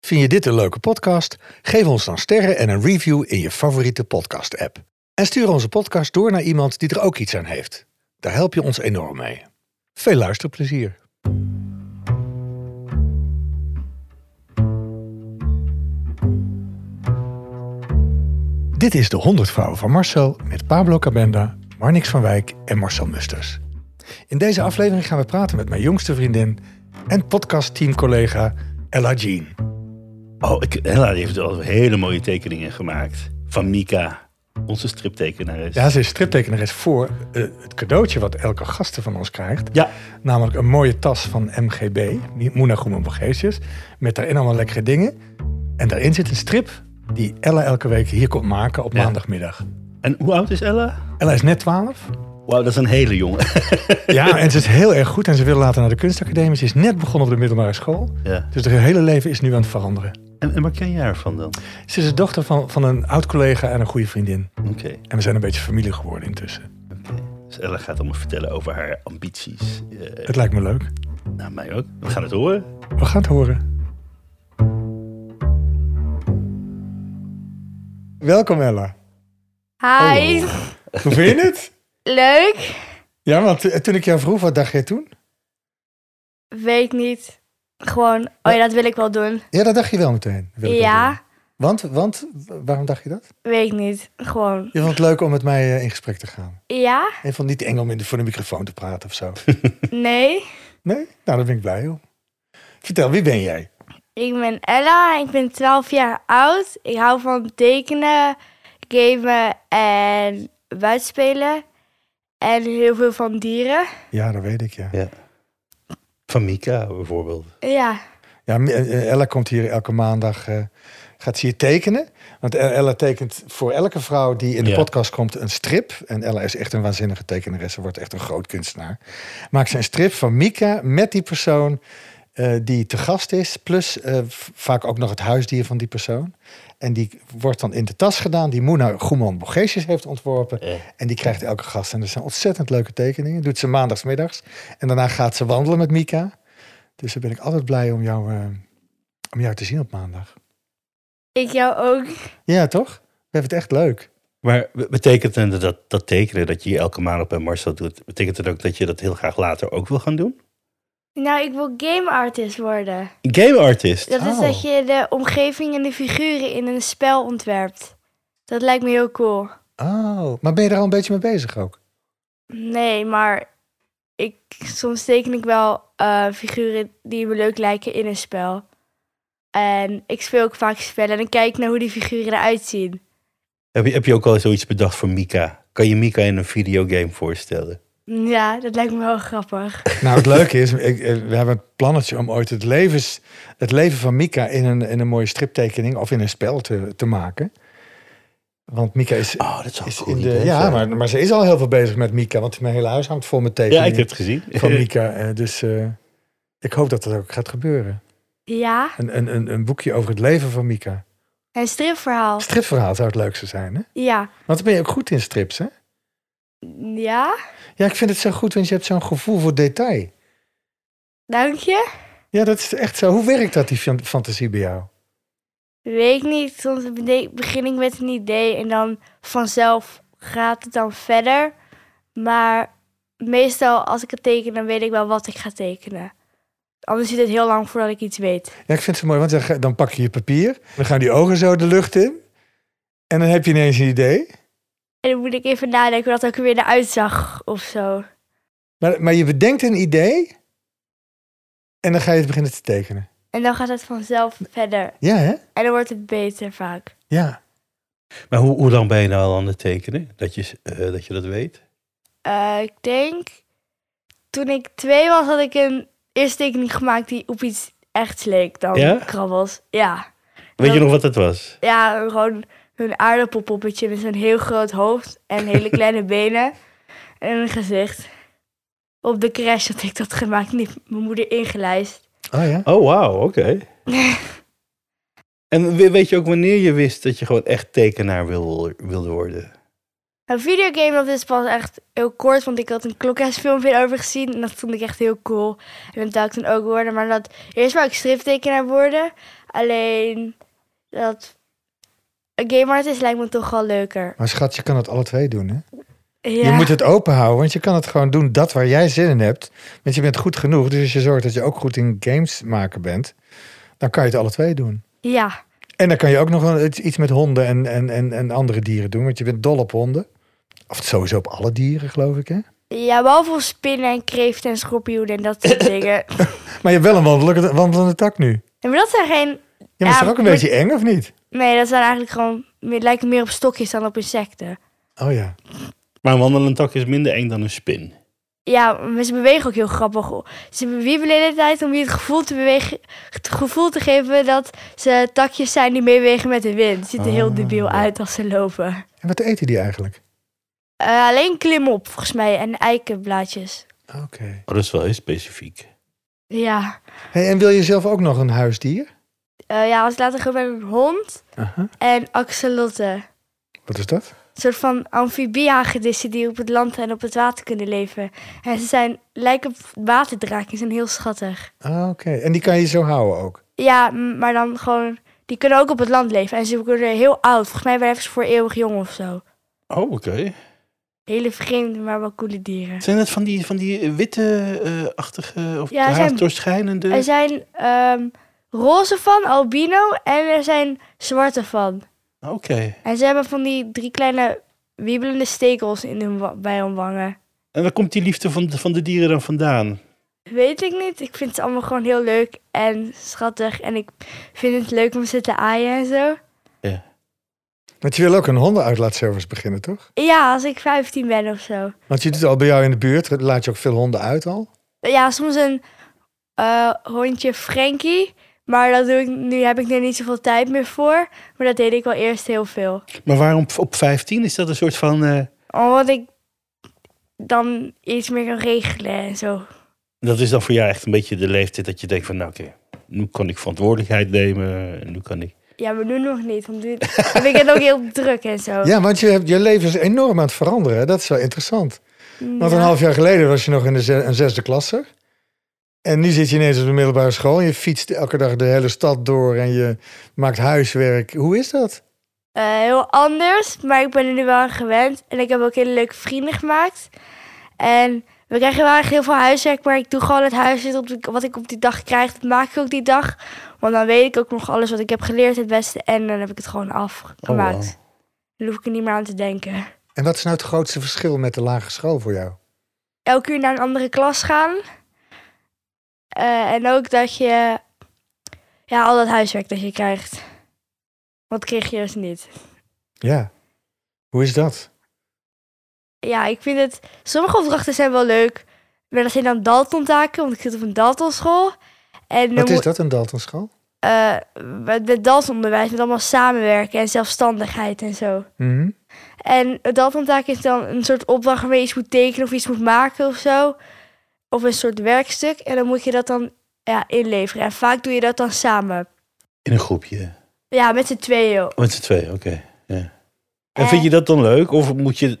Vind je dit een leuke podcast? Geef ons dan sterren en een review in je favoriete podcast-app. En stuur onze podcast door naar iemand die er ook iets aan heeft. Daar help je ons enorm mee. Veel luisterplezier. Dit is de 100 Vrouwen van Marcel met Pablo Cabenda, Marnix van Wijk en Marcel Musters. In deze aflevering gaan we praten met mijn jongste vriendin en podcastteamcollega Ella Jean. Oh, ik, Hella heeft al hele mooie tekeningen gemaakt. Van Mika, onze striptekenares. Ja, ze is striptekenares voor eh, het cadeautje wat elke gasten van ons krijgt. Ja. Namelijk een mooie tas van MGB, Moena Groen Begeestjes, met daarin allemaal lekkere dingen. En daarin zit een strip die Ella elke week hier komt maken op Ja. maandagmiddag. En hoe oud is Ella? Ella is net 12. Wauw, dat is een hele jongen. Ja, en ze is heel erg goed en ze wil later naar de kunstacademie. Ze is net begonnen op de middelbare school. ja. Dus haar hele leven is nu aan het veranderen. en, en waar ken jij haar van dan? Ze is de dochter van, van een oud collega en een goede vriendin. Oké. En we zijn een beetje familie geworden intussen. oké. Dus Ella gaat allemaal vertellen over haar ambities. Eh, Het lijkt me leuk. nou, mij ook. We gaan het horen. We gaan het horen. Welkom Ella. Hi, Oh. Hoe vind je het? leuk. Ja, want eh, toen ik jou vroeg, wat dacht jij toen? Weet niet. Gewoon, oh ja, dat wil ik wel doen. Ja, dat dacht je wel meteen. wil ik wel doen. Ja, Want, want, wa- waarom dacht je dat? weet niet. Gewoon, Je vond het leuk om met mij eh, in gesprek te gaan. ja, En je vond het niet eng om in de, voor de microfoon te praten of zo. nee. Nee? Nou, daar ben ik blij om. Vertel, wie ben jij? Ik ben Ella, ik ben 12 jaar oud. Ik hou van tekenen, gamen en buitenspelen. En heel veel van dieren. Ja, dat weet ik, ja. Ja. Van Mika bijvoorbeeld. Ja, Ja, M- eh, Ella komt hier elke maandag, eh, gaat ze hier tekenen. Want El- Ella tekent voor elke vrouw die in de Ja. podcast komt een strip. En Ella is echt een waanzinnige tekenares. Ze wordt echt een groot kunstenaar. Maakt ze een strip van Mika met die persoon eh, die te gast is. Plus eh, v- vaak ook nog het huisdier van die persoon. En die wordt dan in de tas gedaan. Die Moena Goeman Borgesius heeft ontworpen. Eh. En die krijgt elke gast. En dat zijn ontzettend leuke tekeningen. Doet ze maandagsmiddags. En daarna gaat ze wandelen met Mika. Dus daar ben ik altijd blij om jou, eh, om jou te zien op maandag. ik jou ook. Ja, toch? We hebben het echt leuk. Maar be- betekent dan dat, dat tekenen dat je hier elke maand op bij Marcel doet, betekent dat ook dat je dat heel graag later ook wil gaan doen? Nou, ik wil game artist worden. Game artist. Dat is Oh. dat je de omgeving en de figuren in een spel ontwerpt. Dat lijkt me heel cool. Oh, maar ben je er al een beetje mee bezig ook? Nee, maar ik, soms teken ik wel eh, figuren die me leuk lijken in een spel. En ik speel ook vaak spellen en ik kijk naar hoe die figuren eruit zien. Heb, je, heb je ook al zoiets bedacht voor Mika? Kan je Mika in een videogame voorstellen? Ja, dat lijkt me wel grappig. Nou, het leuke is, ik, eh, we hebben het plannetje om ooit het, levens, het leven van Mika in een, in een mooie striptekening of in een spel te, te maken. Want Mika is, Oh, dat zou is cool in de. idee Ja, zijn. maar, maar ze is al heel veel bezig met Mika, want mijn hele huis hangt vol met Ja, tekeningen ik heb het gezien. van Mika. eh, Dus eh, ik hoop dat dat ook gaat gebeuren. Ja, Een, een, een, een boekje over het leven van Mika. een stripverhaal. Stripverhaal zou het leukste zijn, hè? Ja. Want dan ben je ook goed in strips, hè? Ja, Ja, ik vind het zo goed, want je hebt zo'n gevoel voor detail. dank je. Ja, dat is echt zo. Hoe werkt dat, die fan- fantasie bij jou? Weet ik niet, soms bede- begin ik met een idee en dan vanzelf gaat het dan verder. Maar meestal als ik het teken, dan weet ik wel wat ik ga tekenen. Anders duurt het heel lang voordat ik iets weet. Ja, ik vind het zo mooi, want dan, ga- dan pak je je papier, dan gaan die ogen zo de lucht in. En dan heb je ineens een idee. En dan moet ik even nadenken hoe dat ook weer eruit zag of zo. Maar, maar je bedenkt een idee. En dan ga je het beginnen te tekenen. En dan gaat het vanzelf verder. Ja, hè? En dan wordt het beter vaak. Ja. Maar hoe, hoe lang ben je nou al aan het tekenen? Dat je, eh, dat, je dat weet? Eh, ik denk, toen ik twee was, had ik een eerste tekening gemaakt die op iets echt leek dan Ja? krabbels. Ja. Weet je Ja. nog wat dat was? ja, gewoon een aardappelpoppetje met zo'n heel groot hoofd en hele kleine benen en een gezicht. Op de crash had ik dat gemaakt, en die heeft mijn moeder ingelijst. Oh ja. Oh, wauw, oké. en we- weet je ook wanneer je wist dat je gewoon echt tekenaar wil, wilde worden? Een videogame, dat is pas echt heel kort, want ik had een klokhuisfilmpje over gezien. En dat vond ik echt heel cool. En dat wou ik dan ook worden. Maar dat, eerst wou ik striptekenaar worden. Alleen, dat een game artist lijkt me toch wel leuker. Maar schat, je kan het alle twee doen, hè? Ja. Je moet het open houden, want je kan het gewoon doen dat waar jij zin in hebt. Want je bent goed genoeg, dus als je zorgt dat je ook goed in games maken bent, dan kan je het alle twee doen. ja. En dan kan je ook nog wel iets iets met honden en, en, en, en andere dieren doen, want je bent dol op honden. Of sowieso op alle dieren, geloof ik, hè? Ja, behalve spinnen en kreeften en schorpioenen en dat soort dingen. Maar je hebt wel een wandelende, wandelende tak nu. Ja, maar dat zijn geen... Ja, maar is Ja, toch ook een maar- beetje eng, of niet? Nee, dat zijn eigenlijk gewoon... meer- lijken meer op stokjes dan op insecten. Oh ja. Maar een wandelend tak is minder eng dan een spin. Ja, maar ze bewegen ook heel grappig. Ze wiebelen de hele tijd om je het gevoel te, bewegen, het gevoel te geven dat ze takjes zijn die meewegen met de wind. Het ziet er heel Ah, debiel ja. uit als ze lopen. En wat eten die eigenlijk? Eh, alleen klimop, volgens mij, en eikenblaadjes. Oké. Oh, dat is wel heel specifiek. Ja. Hey, en wil je zelf ook nog een huisdier? Eh, ja, als ik later gewoon met een hond Aha. en axolotten. Wat is dat? Een soort van amfibiehagedissen die op het land en op het water kunnen leven. En ze zijn, lijken op waterdraakjes en heel schattig. Ah, Oké. En die kan je zo houden ook? Ja, m- maar dan gewoon... Die kunnen ook op het land leven. En ze worden heel oud. Volgens mij blijven ze voor eeuwig jong of zo. Oh, oké. Hele vreemde, maar wel coole dieren. Zijn dat van die, van die witte-achtige of Ja, haast zijn- doorschijnende? Er zijn ehm, roze van, albino. En er zijn zwarte van. Oh, Oké. En ze hebben van die drie kleine wiebelende stekels in hun wa- bij hun wangen. En waar komt die liefde van, de- van de dieren dan vandaan? Weet ik niet. Ik vind ze allemaal gewoon heel leuk en schattig. En ik vind het leuk om ze te aaien en zo. Want je wil ook een hondenuitlaatservice beginnen, toch? Ja, als ik 15 ben of zo. Want je doet al bij jou in de buurt, laat je ook veel honden uit al. Ja, soms een eh, hondje Frankie. Maar dat doe ik, nu heb ik er niet zoveel tijd meer voor. Maar dat deed ik wel eerst heel veel. Maar waarom op- op 15? Is dat een soort van... eh, Omdat ik dan iets meer kan regelen en zo. dat is dan voor jou echt een beetje de leeftijd dat je denkt van... Nou, oké, nu kan ik verantwoordelijkheid nemen. En nu kan ik... Ja, maar nu nog niet. Want nu heb ik het ook heel druk en zo. Ja, want je, hebt, je leven is enorm aan het veranderen. hè? Dat is wel interessant. Want Ja. een half jaar geleden was je nog in de ze- een zesde klasse. En nu zit je ineens op de middelbare school. En je fietst elke dag de hele stad door en je maakt huiswerk. Hoe is dat? Eh, heel anders, maar ik ben er nu wel aan gewend. En ik heb ook hele leuke vrienden gemaakt. En we krijgen wel echt heel veel huiswerk, maar ik doe gewoon het huiswerk op de- wat ik op die dag krijg. Dat maak ik ook die dag. Want dan weet ik ook nog alles wat ik heb geleerd het beste. En dan heb ik het gewoon afgemaakt. wow. Dan hoef ik er niet meer aan te denken. En wat is nou het grootste verschil met de lagere school voor jou? Elke uur naar een andere klas gaan. Eh, en ook dat je... Ja, al dat huiswerk dat je krijgt. Wat kreeg je dus niet. Ja. Hoe is dat? ja, ik vind het. Sommige opdrachten zijn wel leuk. Maar dat zijn dan Dalton-taken, want ik zit op een Dalton-school. En dan Wat is moet- dat, een Dalton school? eh, met, met Dalton-onderwijs, met allemaal samenwerken en zelfstandigheid en zo. Mhm. En een Dalton-taak is dan een soort opdracht waarmee je iets moet tekenen of iets moet maken of zo. Of een soort werkstuk. En dan moet je dat dan ja, inleveren. En vaak doe je dat dan samen. In een groepje. Ja, met z'n tweeën. Oh, Met z'n tweeën, oké. Ja. En Eh. vind je dat dan leuk? Of moet je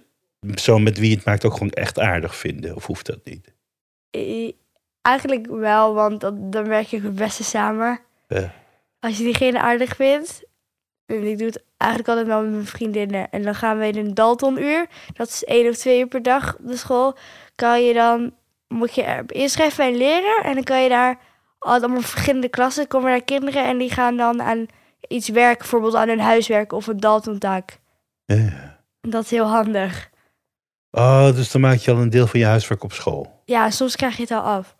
zo met wie je het maakt ook gewoon echt aardig vinden? Of hoeft dat niet? I- Eigenlijk wel, want dat, dan werk je ook het beste samen. Ja. Als je diegene aardig vindt. En ik doe het eigenlijk altijd wel met mijn vriendinnen. En dan gaan we in een Daltonuur. Dat is één of twee uur per dag op de school. Kan je dan, moet je er inschrijven bij een leraar. En dan kan je daar al- allemaal verschillende klassen. Komen daar kinderen en die gaan dan aan iets werken. Bijvoorbeeld aan hun huiswerk of een Daltontaak. Ja. Dat is heel handig. Oh, dus dan maak je al een deel van je huiswerk op school. Ja, soms krijg je het al af.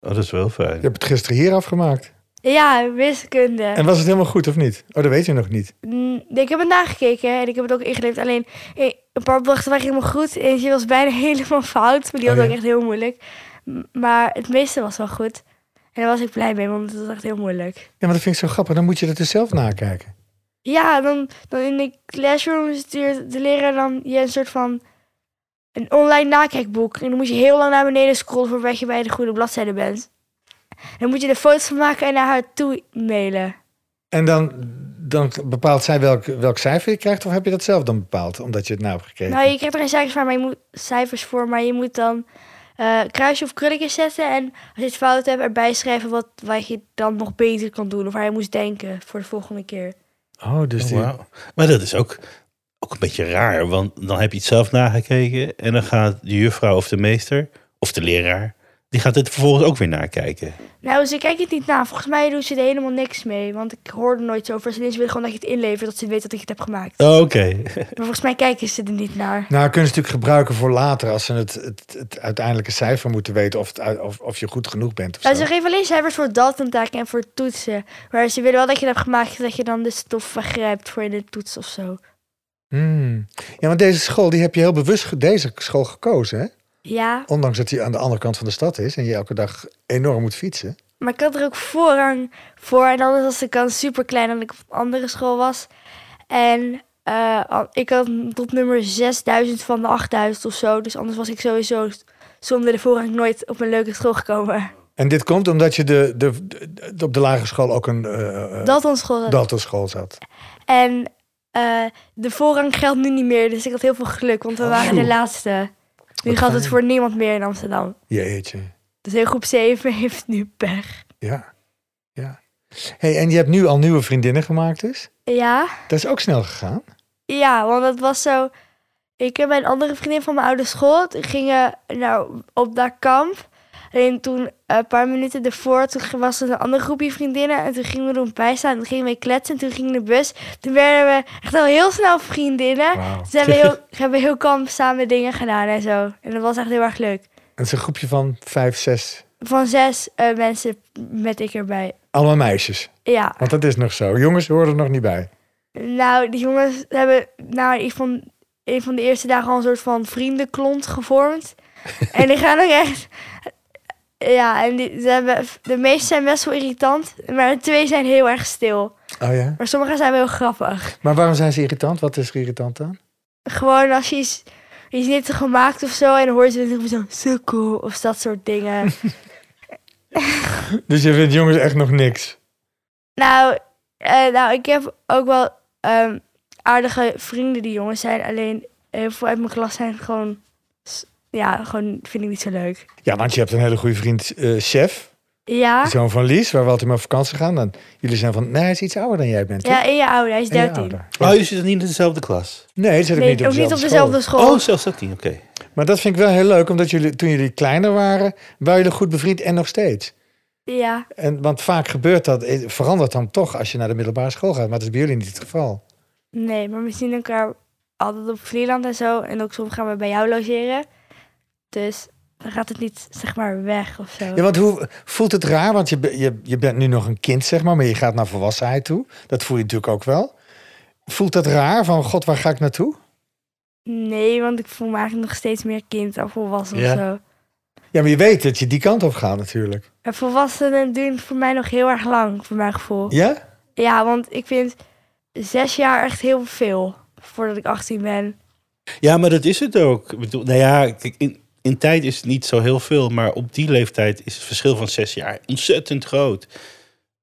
Oh, dat is wel fijn. Je hebt het gisteren hier afgemaakt. Ja, wiskunde. En was het helemaal goed of niet? Oh, dat weet je nog niet. Mm, Ik heb het nagekeken en ik heb het ook ingeleverd. Alleen eh, een paar opdrachten waren helemaal goed. Eentje was bijna helemaal fout. Maar die Oh, was ja. ook echt heel moeilijk. M- Maar het meeste was wel goed. En daar was ik blij mee, want het was echt heel moeilijk. Ja, maar dat vind ik zo grappig. Dan moet je dat dus zelf nakijken. Ja, dan, dan in de classroom stuurt de leraar dan je een soort van een online nakijkboek. En dan moet je heel lang naar beneden scrollen voordat je bij de goede bladzijde bent. Dan moet je er foto's van maken en naar haar toe mailen. En dan, dan bepaalt zij welk, welk cijfer je krijgt, of heb je dat zelf dan bepaald, omdat je het nou hebt gekregen? Nou, je krijgt er geen cijfers, voor, maar je moet, cijfers voor, maar je moet dan eh kruisje of krulletjes zetten. En als je het fout hebt, erbij schrijven wat, wat je dan nog beter kan doen. Of waar je moest denken voor de volgende keer. Oh, dus die, Wauw. Maar dat is ook, ook een beetje raar, want dan heb je het zelf nagekeken en dan gaat de juffrouw of de meester of de leraar, die gaat het vervolgens ook weer nakijken. Nou, ze kijken het niet na. Volgens mij doen ze er helemaal niks mee. Want ik hoor er nooit zo over. Ze willen gewoon dat je het inlevert, dat ze weten dat ik het heb gemaakt. Oh, Oké. Maar volgens mij kijken ze er niet naar. Nou, kunnen ze natuurlijk gebruiken voor later als ze het, het, het uiteindelijke cijfer moeten weten of, het, uit- of, of je goed genoeg bent. Of Nou, zo. ze geven alleen cijfers voor datumtaken en voor toetsen. Maar ze willen wel dat je het hebt gemaakt, dat je dan de stof begrijpt voor in de toets of zo. Hmm. Ja, want deze school die heb je heel bewust ge- deze school gekozen. Hè? Ja, Ondanks dat die aan de andere kant van de stad is en je elke dag enorm moet fietsen. maar ik had er ook voorrang voor. En anders was de kans super klein omdat ik op een andere school was. En eh, al- ik had tot nummer 6000 van de 8000 of zo. Dus anders was ik sowieso s- zonder de voorrang nooit op een leuke school gekomen. En dit komt omdat je de, de, de- de- op de lagere school ook een eh Dat ons school. had. Dalton school zat. En eh, de voorrang geldt nu niet meer. Dus ik had heel veel geluk, want we waren de Oeh. laatste. Nu Oh. Wat geldt het fijn. voor niemand meer in Amsterdam. Jeetje. Dus heel groep 7 heeft nu pech. Ja. ja. Hey, en je hebt nu al nieuwe vriendinnen gemaakt dus? Ja? Dat is ook snel gegaan. Ja, want het was zo... Ik en mijn andere vriendin van mijn oude school die gingen nou, op dat kamp. Alleen toen, een paar minuten ervoor, toen was er een andere groepje vriendinnen. En toen gingen we er bij staan en toen gingen we kletsen. En toen gingen we de bus. Toen werden we echt al heel snel vriendinnen. Wauw. Dus we hebben heel, hebben heel kamp samen dingen gedaan en zo. En dat was echt heel erg leuk. Het is een groepje van vijf, zes. Van zes eh, mensen met ik erbij. Allemaal meisjes. Ja. Want dat is nog zo. Jongens horen er nog niet bij. Nou, die jongens hebben nou, een, van, een van de eerste dagen al een soort van vriendenklont gevormd. en die gaan ook echt... Ja, en die, ze hebben, de meeste zijn best wel irritant, maar de twee zijn heel erg stil. Oh ja? Maar sommigen zijn wel heel grappig. Maar waarom zijn ze irritant? Wat is er irritant aan? Gewoon als je iets, iets niet hebt gemaakt of zo, en dan hoor je ze weer zo sukkel of dat soort dingen. Dus je vindt jongens echt nog niks. nou, eh, nou, ik heb ook wel ehm, aardige vrienden die jongens zijn, alleen heel veel uit mijn klas zijn gewoon... s- Ja, gewoon vind ik niet zo leuk. Ja, want je hebt een hele goede vriend, eh, Chef. Ja, Die zoon van Lies, waar we altijd mee op vakantie gaan. En jullie zijn van, nee, hij is iets ouder dan jij bent. ja, in je oude, hij is toch? En je 13. ouder. Oh, je zit niet in dezelfde klas. Nee, dat zit ik Nee, niet op ook niet op dezelfde dezelfde school. school. Oh, zelfs dat niet. Oké. Maar dat vind ik wel heel leuk, omdat jullie, toen jullie kleiner waren, waren jullie goed bevriend en nog steeds. Ja, En, want vaak gebeurt dat, eh, verandert dan toch als je naar de middelbare school gaat. Maar dat is bij jullie niet het geval. nee, maar we zien elkaar altijd op Vlieland en zo. En ook soms gaan we bij jou logeren. Dus dan gaat het niet, zeg maar, weg of zo. Ja, want hoe voelt het raar? Want je, be- je, je bent nu nog een kind, zeg maar, maar je gaat naar volwassenheid toe. Dat voel je natuurlijk ook wel. Voelt dat raar van, god, waar ga ik naartoe? Nee, want ik voel me eigenlijk nog steeds meer kind of volwassen Ja. of zo. Ja, maar je weet dat je die kant op gaat natuurlijk. En volwassenen duurt voor mij nog heel erg lang, voor mijn gevoel. Ja, Ja? want ik vind zes jaar echt heel veel voordat ik 18 ben. Ja, maar dat is het ook. Ik bedoel, nou ja, kijk, in, in tijd is het niet zo heel veel, maar op die leeftijd is het verschil van zes jaar ontzettend groot.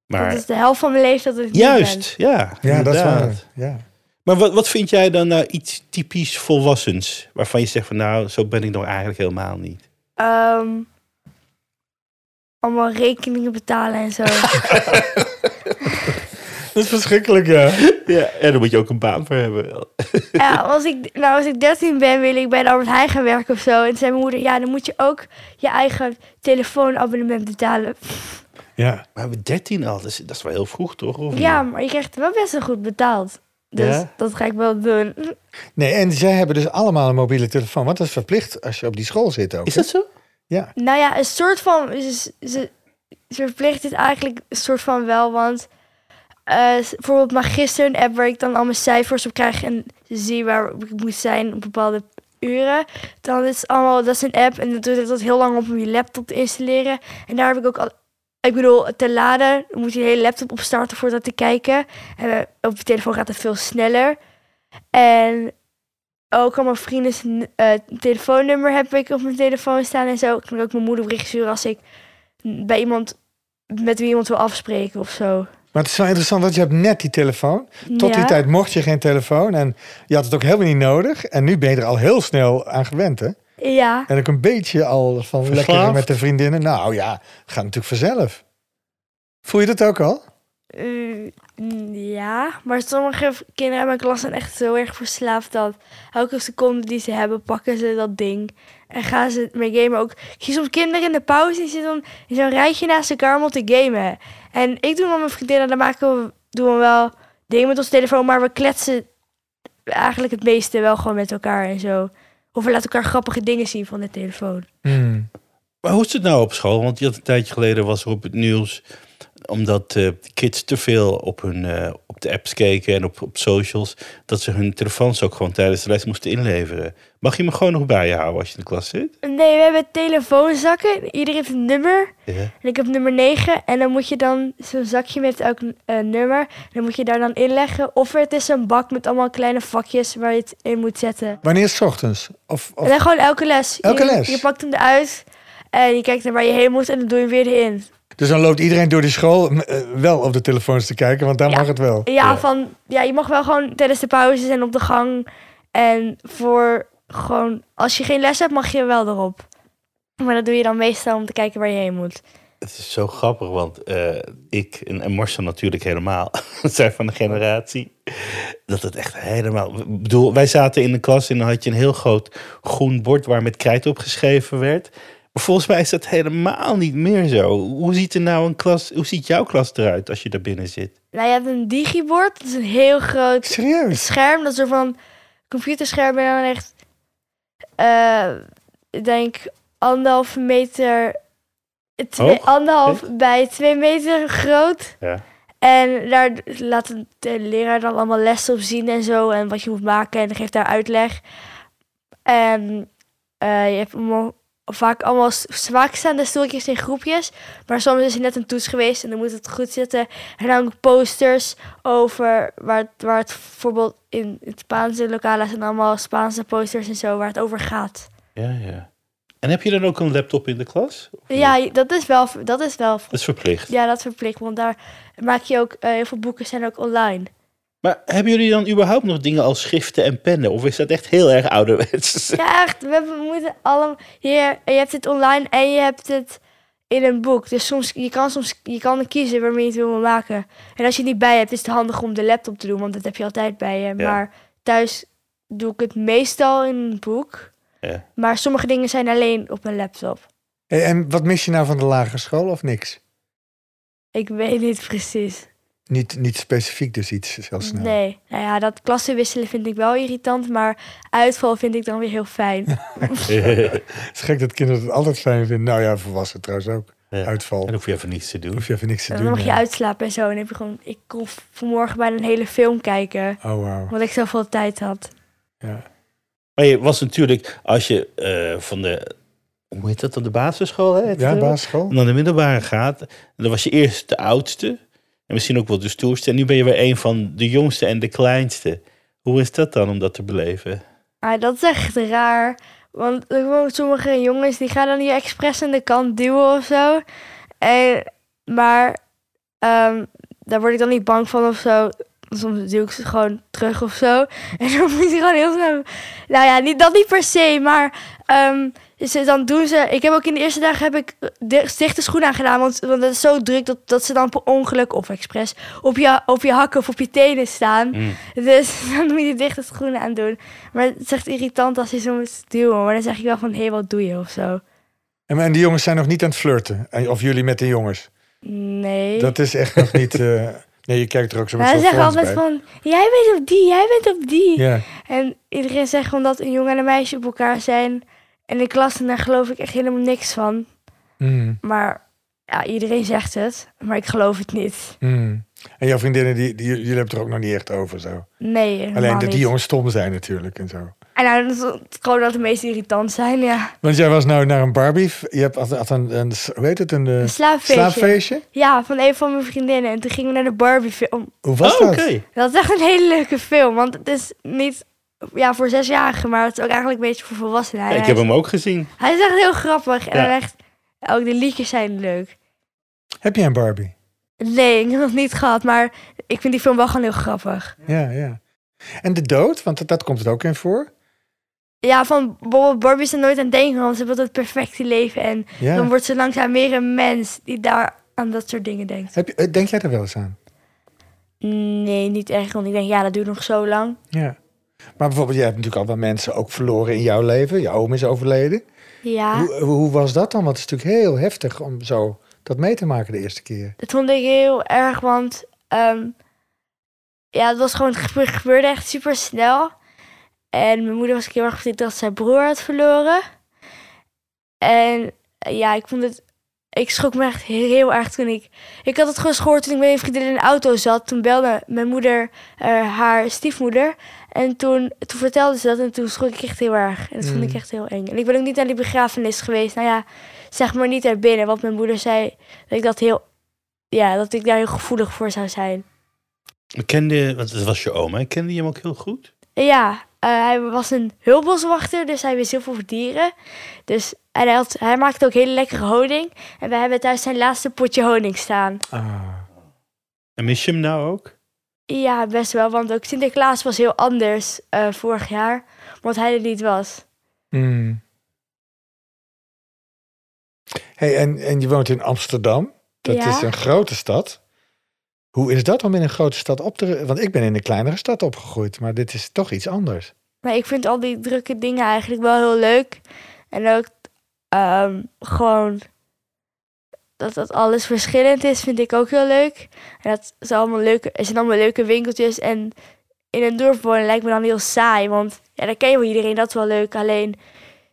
Maar Dat is de helft van mijn leeftijd dat ik nu ben. juist, ja. Ja, dat is inderdaad. waar. Ja. Maar wat, wat vind jij dan nou iets typisch volwassens? Waarvan je zegt van nou, zo ben ik nou eigenlijk helemaal niet. Ehm, allemaal rekeningen betalen en zo. Dat is verschrikkelijk, ja. Ja, en daar moet je ook een baan voor hebben. ja, als ik, nou, als ik 13 ben, wil ik bij de Albert Heijn gaan werken of zo. En toen zei mijn moeder, ja, dan moet je ook je eigen telefoonabonnement betalen. Ja. Maar we 13 al, dat is, dat is wel heel vroeg toch? Of niet? Ja, maar je krijgt wel best wel goed betaald. Dus Ja? dat ga ik wel doen. Nee, en zij hebben dus allemaal een mobiele telefoon. Want dat is verplicht als je op die school zit ook. Is dat zo? Ja. Nou ja, een soort van... Ze, ze, ze verplicht het eigenlijk een soort van wel, want... eh, bijvoorbeeld maar gisteren een app waar ik dan al mijn cijfers op krijg en zie waar ik moet zijn op bepaalde uren. Dan is het allemaal, dat is een app en dat duurt dat heel lang om je laptop te installeren. En daar heb ik ook al, ik bedoel, te laden dan moet je de hele laptop opstarten voor dat te kijken. En eh, op je telefoon gaat het veel sneller. En ook allemaal vrienden zijn eh, telefoonnummer heb ik op mijn telefoon staan en zo. Ik kan ook mijn moeder bericht sturen als ik bij iemand met wie iemand wil afspreken of zo. Maar Maar het is wel interessant, want je hebt net die telefoon. Tot die Ja. tijd mocht je geen telefoon en je had het ook helemaal niet nodig. En nu ben je er al heel snel aan gewend, hè? Ja, En ook een beetje al van Verslaafd. lekker met de vriendinnen. Nou ja, het gaat natuurlijk vanzelf. Voel je dat ook al? eh, ja. Maar sommige v- kinderen in mijn klas zijn echt zo erg verslaafd dat elke seconde die ze hebben, pakken ze dat ding. En gaan ze mee gamen ook. Ik zie soms kinderen in de pauze, die zitten dan in zo'n rijtje naast elkaar om te gamen. En ik doe met mijn vriendinnen, dan maken we, doen we wel dingen met ons telefoon, maar we kletsen eigenlijk het meeste wel gewoon met elkaar en zo. Of we laten elkaar grappige dingen zien van de telefoon. Hmm. Maar hoe is het nou op school? Want je had een tijdje geleden was er op het nieuws omdat eh, kids te veel op, hun, eh, op de apps keken en op, op socials, dat ze hun telefoons ook gewoon tijdens de les moesten inleveren. Mag je me gewoon nog bij je houden als je in de klas zit? Nee, we hebben telefoonzakken. Ieder heeft een nummer. Ja. En ik heb nummer 9. En dan moet je dan zo'n zakje met elk eh, nummer. En dan moet je daar dan inleggen. Of het is een bak met allemaal kleine vakjes waar je het in moet zetten. Wanneer is het 's ochtends? Of, En of... dan gewoon elke les. Elke je, les? Je pakt hem eruit. En je kijkt naar waar je heen moet. En dan doe je hem weer erin. Dus dan loopt iedereen door die school m, eh, wel op de telefoons te kijken, want daar Ja. mag het wel. Ja, Ja. Van, ja, je mag wel gewoon tijdens de pauzes en op de gang. En voor gewoon... Als je geen les hebt, mag je wel erop. Maar dat doe je dan meestal om te kijken waar je heen moet. Het is zo grappig, want eh, ik en, en Marcel natuurlijk helemaal zijn van de generatie. Dat het echt helemaal. Ik bedoel, wij zaten in de klas en dan had je een heel groot groen bord waar met krijt op geschreven werd. Maar volgens mij is dat helemaal niet meer zo. Hoe ziet er nou een klas? Hoe ziet jouw klas eruit als je daar binnen zit? Nou, je hebt een digibord. Dat is een heel groot Serieus? scherm. Dat is een soort van computerscherm. En dan echt, eh, ik denk, anderhalve meter... Twee, Hoog? anderhalf bij twee meter groot. Ja. En daar laat de- de leraar dan allemaal lessen op zien en zo. En wat je moet maken. En geeft daar uitleg. En eh, je hebt allemaal, vaak allemaal s- zwaakstaande stoeltjes in groepjes. Maar soms is er net een toets geweest en dan moet het goed zitten. En dan ook posters over waar, het- waar het bijvoorbeeld in het Spaanse lokalen zijn allemaal Spaanse posters en zo waar het over gaat. ja, ja. En heb je dan ook een laptop in de klas? Of niet? Ja, dat is wel, dat is wel Dat is verplicht. ja, dat verplicht. Want daar maak je ook, eh, heel veel boeken zijn ook online. Maar hebben jullie dan überhaupt nog dingen als schriften en pennen? Of is dat echt heel erg ouderwets? Ja, echt. We hebben- we moeten allemaal. Hier, je hebt het online en je hebt het in een boek. Dus soms, je kan soms je kan kiezen waarmee je het wil maken. En als je het niet bij hebt, is het handig om de laptop te doen, want dat heb je altijd bij je. Ja. Maar thuis doe ik het meestal in een boek. Ja. Maar sommige dingen zijn alleen op mijn laptop. Hey, en wat mis je nou van de lagere school of niks? Ik weet niet precies. Niet, niet specifiek dus iets zelfs snel. Nee. Nou ja, dat klassen wisselen vind ik wel irritant, maar uitval vind ik dan weer heel fijn. Het is gek dat kinderen het altijd fijn vinden. Nou ja, volwassenen trouwens ook. Ja. Uitval. En Dan hoef je even niets te doen. hoef je even niks te En doen. dan mag je ja. uitslapen en zo. En dan heb je gewoon, ik kon v- vanmorgen bijna een hele film kijken. Oh, wauw. Omdat ik zoveel tijd had. Ja. Maar je was natuurlijk, als je eh, van de, hoe heet dat dan, de basisschool? Hè, heet Ja, het? basisschool. En dan de middelbare gaat, dan was je eerst de oudste. En misschien ook wel de stoerste. En nu ben je weer een van de jongste en de kleinste. Hoe is dat dan om dat te beleven? Maar Ah, dat is echt raar. Want er wonen sommige jongens die gaan dan hier expres aan de kant duwen of zo. En, maar ehm, daar word ik dan niet bang van of zo. Soms duw ik ze gewoon terug of zo. En dan moet je gewoon heel snel... Nou ja, niet, dat niet per se, maar... ehm, ze, dan doen ze... Ik heb ook in de eerste dagen heb ik eh, di- dichte schoenen aangedaan. Want, want het is zo druk dat, dat ze dan per ongeluk of expres... Op je, op je hakken of op je tenen staan. Dus dan moet je dichte schoenen aan doen. Maar het is echt irritant als je zo moet duwen. Maar dan zeg ik wel van, hé, hey, wat doe je of zo. En, en die jongens zijn nog niet aan het flirten. En- Of jullie met de jongens. Nee. Dat is echt nog niet... eh, Nee, je kijkt er ook zo maar ze met zeggen zo'n altijd bij. van, jij bent op die, jij bent op die. Ja. En iedereen zegt gewoon dat een jongen en een meisje op elkaar zijn. En de klas, en daar geloof ik echt helemaal niks van. Mm, Maar ja, iedereen zegt het. Maar ik geloof het niet. mm. En jouw vriendinnen, die, die, jullie hebben het er ook nog niet echt over zo. Nee, helemaal Alleen dat niet. die jongens stom zijn natuurlijk en zo. En nou, dat is gewoon dat de meest irritant zijn, ja. Want jij was nou naar een Barbie... Je hebt had, had een, een, hoe heet het, een eh, Een slaapfeestje. slaapfeestje? Ja, van een van mijn vriendinnen. En toen gingen we naar de Barbie film. Hoe was Oh, dat? oké. Dat is echt een hele leuke film. Want het is niet ja, voor zesjarigen, maar het is ook eigenlijk een beetje voor volwassenen. Ja, Hij, ik heb hem ook gezien. hij is echt heel grappig. En Ja. "Oh, dan echt, ook de liedjes zijn leuk. Heb jij een Barbie? Nee, ik heb nog niet gehad, maar ik vind die film wel gewoon heel grappig. Ja, ja. En de dood, want dat, dat komt het ook in voor. Ja, van bijvoorbeeld Barbie is er nooit aan denken, want ze wil het perfecte leven. En dan Ja. wordt ze langzaam meer een mens die daar aan dat soort dingen denkt. Heb je, eh, denk jij daar wel eens aan? Nee, niet echt, want ik denk, ja, dat duurt nog zo lang. Ja. Maar bijvoorbeeld, jij hebt natuurlijk al wel mensen ook verloren in jouw leven. Je oom is overleden. Ja, Hoe, hoe was dat dan? Want het is natuurlijk heel heftig om zo dat mee te maken de eerste keer. dat vond ik heel erg, want ehm, ja, het was gewoon, het gebe- gebeurde echt super snel. En mijn moeder was ook heel erg verdrietig dat ze haar broer had verloren. En eh, ja, ik vond het, ik schrok me echt heel, heel erg toen ik, ik had het gewoon eens gehoord toen ik met een vriendin in de auto zat. Toen belde mijn moeder eh, haar stiefmoeder en toen, toen vertelde ze dat en toen schrok ik echt heel erg. En dat Mm. vond ik echt heel eng. En ik ben ook niet naar die begrafenis geweest. Nou ja, zeg maar niet naar binnen, want mijn moeder zei dat ik dat heel, ja, dat ik daar heel gevoelig voor zou zijn. Kende, want het was je oom, hè? Kende je hem ook heel goed? Ja, eh, hij was een hulpboswachter, dus hij wist heel veel voor dieren. Dus, en hij, had, hij maakte ook hele lekkere honing. En wij hebben thuis zijn laatste potje honing staan. Ah. En mis je hem nou ook? Ja, best wel, want ook Sinterklaas was heel anders eh, vorig jaar, want hij er niet was. Hmm. Hey, en, en je woont in Amsterdam. Dat Ja. is een grote stad. Hoe is dat om in een grote stad op te... Want ik ben in een kleinere stad opgegroeid, maar dit is toch iets anders. Maar ik vind al die drukke dingen eigenlijk wel heel leuk. En ook ehm, gewoon dat dat alles verschillend is, vind ik ook heel leuk. En dat is allemaal leuke, er zijn allemaal leuke winkeltjes. En in een dorp wonen lijkt me dan heel saai. Want ja, dan ken je wel iedereen, dat is wel leuk. Alleen,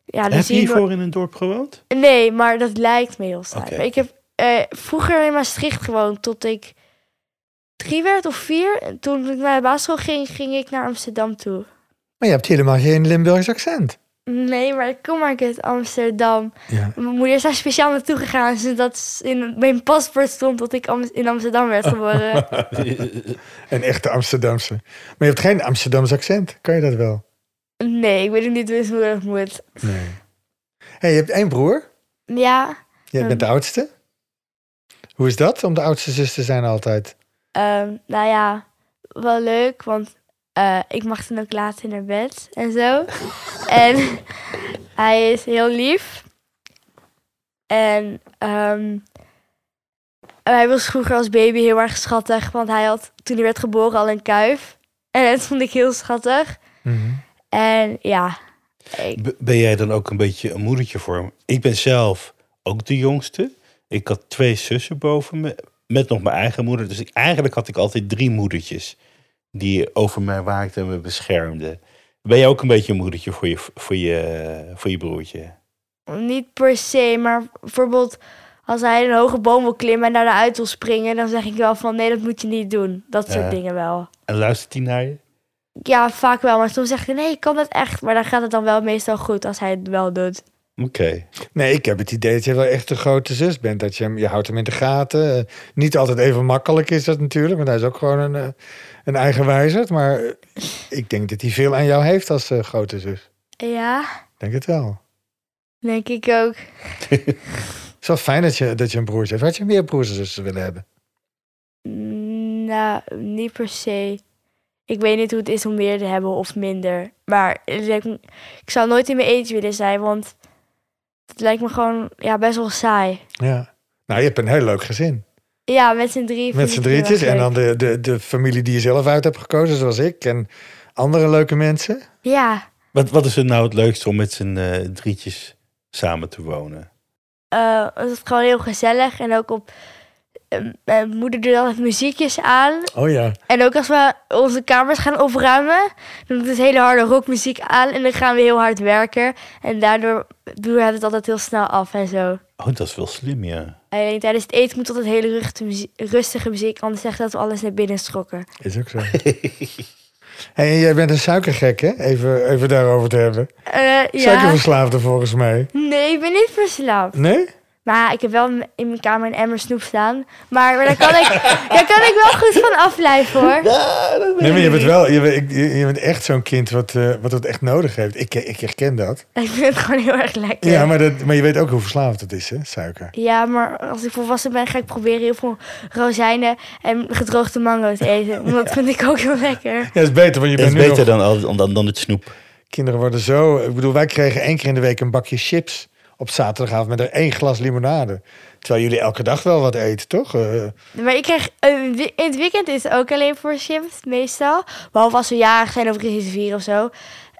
ja, dan Heb je zie je... no- hiervoor in een dorp gewoond? Nee, maar dat lijkt me heel saai. Oké. Maar Ik heb eh, vroeger in Maastricht gewoond tot ik drie werd of vier. En toen ik naar de basisschool ging, ging ik naar Amsterdam toe. Maar je hebt helemaal geen Limburgs accent. Nee, maar ik kom maar uit Amsterdam. Ja. Mijn moeder is daar speciaal naartoe gegaan, zodat ze in mijn paspoort stond dat ik Am- in Amsterdam werd geboren. Een echte Amsterdamse. Maar je hebt geen Amsterdams accent. Kan je dat wel? nee, ik weet ook niet eens hoe dat moet. Nee. Hey, je hebt één broer. Ja, Jij bent de oudste. Hoe is dat om de oudste zus te zijn altijd? ehm, nou ja, wel leuk, want eh, ik mag dan ook later naar bed en zo. en hij is heel lief. En ehm, hij was vroeger als baby heel erg schattig, want hij had toen hij werd geboren al een kuif. En dat vond ik heel schattig. Mhm. En ja, ik, B- ben jij dan ook een beetje een moedertje voor hem? Ik ben zelf ook de jongste. Ik had twee zussen boven me, met nog mijn eigen moeder. Dus ik, eigenlijk had ik altijd drie moedertjes die over mij waakten en me beschermden. Ben jij ook een beetje een moedertje voor je, voor je, voor je broertje? niet per se, maar bijvoorbeeld als hij een hoge boom wil klimmen en naar de uit wil springen, dan zeg ik wel van nee, dat moet je niet doen. Dat soort Ja. dingen wel. En luistert hij naar je? Ja, vaak wel, maar soms zeg ik nee, ik kan dat echt. Maar dan gaat het dan wel meestal goed als hij het wel doet. Oké. Nee, ik heb het idee dat je wel echt de grote zus bent. Dat je hem, je houdt hem in de gaten. Eh, niet altijd even makkelijk is dat natuurlijk, want hij is ook gewoon een, eh, een eigenwijzerd. Maar eh, ik denk dat hij veel aan jou heeft als eh, grote zus. Ja, Ik denk het wel. denk ik ook. Het is wel fijn dat je, dat je een broertje hebt. Had je meer broers en zussen willen hebben? Mm, Nou, niet per se. Ik weet niet hoe het is om meer te hebben of minder. Maar het lijkt me- ik zou nooit in mijn eentje willen zijn, want het lijkt me gewoon ja, best wel saai. Ja. Nou, je hebt een heel leuk gezin. Ja, met z'n drieën. vind Met ik z'n het heel drietjes. erg En leuk. dan de, de, de familie die je zelf uit hebt gekozen, zoals ik. En andere leuke mensen. Ja, Wat, wat is er nou het leukste om met z'n eh, drietjes samen te wonen? eh, het is gewoon heel gezellig. En ook op... eh, mijn moeder doet altijd muziekjes aan. Oh ja. En ook als we onze kamers gaan opruimen... dan doet het hele harde rockmuziek aan. En dan gaan we heel hard werken. En daardoor doen we het altijd heel snel af en zo. Oh, dat is wel slim, ja. En tijdens het eten moet altijd hele ruchte muzie- rustige muziek... anders zegt dat we alles naar binnen schrokken. Is ook zo. Hey, jij bent een suikergek, hè? Even, even daarover te hebben. Eh, ja. Suikerverslaafde volgens mij. Nee, ik ben niet verslaafd. Nee? Maar ik heb wel in mijn kamer een emmer snoep staan. Maar, maar daar, kan ik, daar kan ik wel goed van afblijven hoor. Nee, maar je bent wel, je bent, je, je bent echt zo'n kind wat, eh, wat het echt nodig heeft. Ik, ik herken dat. Ik vind het gewoon heel erg lekker. Ja, maar, dat, maar je weet ook hoe verslaafd het is, hè, suiker. Ja, maar als ik volwassen ben, ga ik proberen heel veel rozijnen en gedroogde mango te eten. Want dat vind ik ook heel lekker. Ja, dat is beter, want je bent Dat is nu nog- beter dan, al- dan, dan het snoep. Kinderen worden zo... Ik bedoel, wij kregen één keer in de week een bakje chips op zaterdagavond met er één glas limonade. Terwijl jullie elke dag wel wat eten, toch? Eh, Maar ik krijg, een wi- in het weekend is het ook alleen voor chips, meestal. Behalve als we jarig zijn of iets vieren of zo.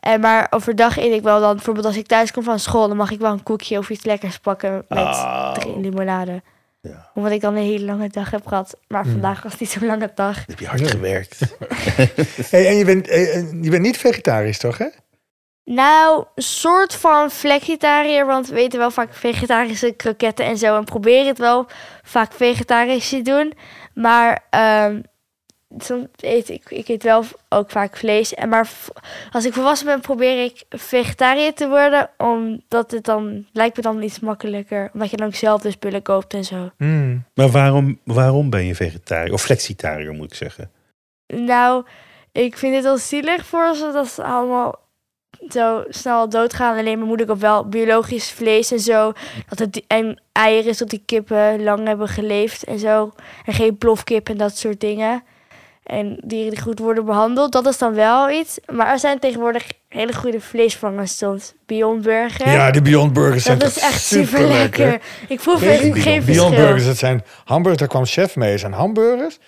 En maar overdag eet ik wel dan, bijvoorbeeld als ik thuis kom van school, dan mag ik wel een koekje of iets lekkers pakken met Oh. drie limonade. Ja. Omdat ik dan een hele lange dag heb gehad. Maar Mm. vandaag was het niet zo'n lange dag. heb je hard gewerkt. hey, en je bent, eh, eh, je bent niet vegetarisch, toch, hè? Nou, een soort van flexitariër, want we weten wel vaak vegetarische kroketten en zo. En proberen het wel vaak vegetarisch te doen. Maar ehm, soms eet ik, ik eet wel ook vaak vlees. En maar v- als ik volwassen ben, probeer ik vegetariër te worden. Omdat het dan, lijkt me dan iets makkelijker. Omdat je dan ook zelf de spullen koopt en zo. Hmm. Maar waarom, waarom ben je vegetariër? Of flexitariër moet ik zeggen. Nou, ik vind het wel zielig voor ze dat ze allemaal zo snel doodgaan. Alleen mijn moeder koopt wel biologisch vlees en zo. Dat het die- en eieren is dat die kippen lang hebben geleefd en zo. En geen plofkip en dat soort dingen. En dieren die goed worden behandeld, dat is dan wel iets. Maar er zijn tegenwoordig hele goede vleesvangers soms. Beyond Burger. Ja, die Beyond Burgers zijn dat is toch echt super lekker. Ik proef Weet je, echt geen verschil. Beyond Burgers, dat zijn hamburgers. Daar kwam chef mee. Dat zijn hamburgers.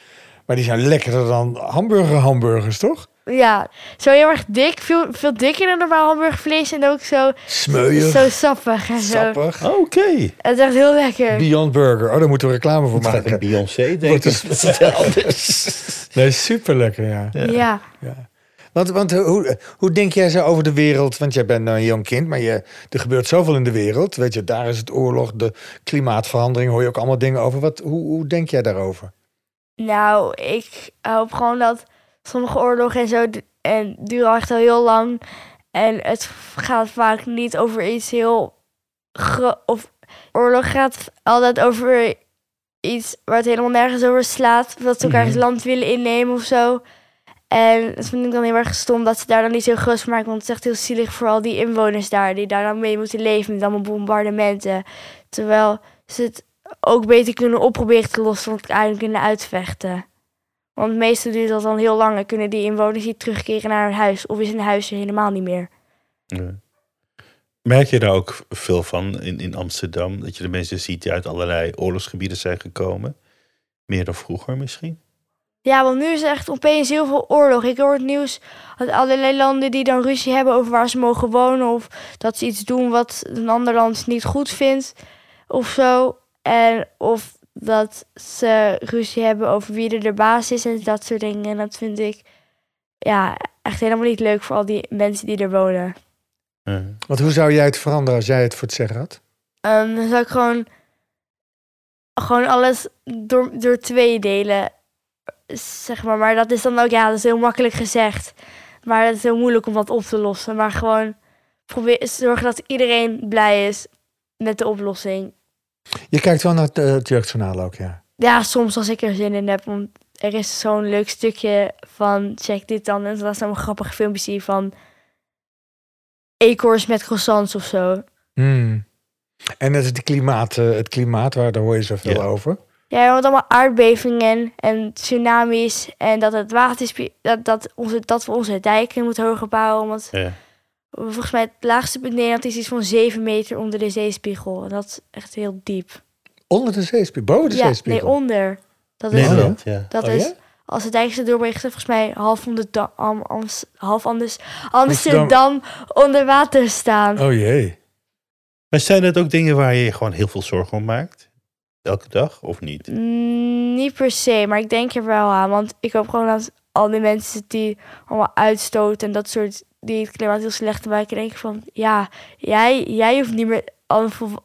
Maar die zijn lekkerder dan hamburger-hamburgers, toch? Ja, zo heel erg dik. Veel, veel dikker dan normaal hamburgervlees. En ook zo Smeuig, Zo sappig en zo. sappig. Oké. Het is echt heel lekker. Beyond Burger. Oh, daar moeten we reclame voor Gaat een maken. Beyoncé denken? Wordt Dat is anders. Nee, super lekker, ja. Ja. Want, want hoe, hoe denk jij zo over de wereld? Want jij bent nou een jong kind, maar je, er gebeurt zoveel in de wereld. Weet je, daar is het oorlog, de klimaatverandering, hoor je ook allemaal dingen over. Wat, hoe, hoe denk jij daarover? Nou, ik hoop gewoon dat sommige oorlogen en zo du- en duren al echt al heel lang. En het gaat vaak niet over iets heel gro- of oorlog gaat altijd over iets waar het helemaal nergens over slaat. Of Dat ze elkaar Mhm. het land willen innemen of zo. En dat vind ik dan heel erg stom dat ze daar dan niet zo groot van maken. Want het is echt heel zielig voor al die inwoners daar. Die daar dan mee moeten leven met allemaal bombardementen. Terwijl ze het ook beter kunnen opproberen te lossen. Want uiteindelijk kunnen uitvechten. Want meestal duurt dat dan heel lang. En kunnen die inwoners niet terugkeren naar hun huis. Of is hun huis er helemaal niet meer. Ja. Merk je daar ook veel van in, in Amsterdam? Dat je de mensen ziet die uit allerlei oorlogsgebieden zijn gekomen? Meer dan vroeger misschien? Ja, want nu is er echt opeens heel veel oorlog. Ik hoor het nieuws uit allerlei landen die dan ruzie hebben over waar ze mogen wonen. Of dat ze iets doen wat een ander land niet goed vindt. Of zo. En of dat ze ruzie hebben over wie er de baas is en dat soort dingen. En dat vind ik ja, echt helemaal niet leuk voor al die mensen die er wonen. Ja. Want hoe zou jij het veranderen als jij het voor het zeggen had? Ehm, dan zou ik gewoon, gewoon alles door, door twee delen. Zeg maar. maar dat is dan ook, ja, dat is heel makkelijk gezegd. Maar het is heel moeilijk om dat op te lossen. Maar gewoon probeer, zorgen dat iedereen blij is met de oplossing. Je kijkt wel naar het, eh, het jeugdjournaal ook, ja. Ja, soms als ik er zin in heb. Want er is zo'n leuk stukje van check dit dan. En dat is dan een grappig filmpje zie van eekhoorns met croissants of zo. Hmm. En dat is de klimaat, eh, het klimaat, waar, daar hoor je zoveel Ja. over. Ja, want allemaal aardbevingen en tsunamis en dat het water dat, dat, onze, dat we onze dijken moeten hoger bouwen. Want Ja. volgens mij het laagste punt in Nederland is iets van 7 meter onder de zeespiegel. En dat is echt heel diep. Onder de zeespiegel, boven de ja, zeespiegel. nee, onder. Dat is, Nederland, ja. dat Oh, is ja? als de dijkse doorbreekt, volgens mij half, Amsterdam, Am, Ams- half anders, Amsterdam. Amsterdam onder water staan. Oh jee. Maar zijn dat ook dingen waar je je gewoon heel veel zorgen om maakt? Elke dag of niet? Mm, Niet per se, maar ik denk er wel aan. Want ik hoop gewoon dat al die mensen die allemaal uitstoten en dat soort die het klimaat heel slecht maken, denken van ja, jij, jij hoeft niet meer allemaal, volw-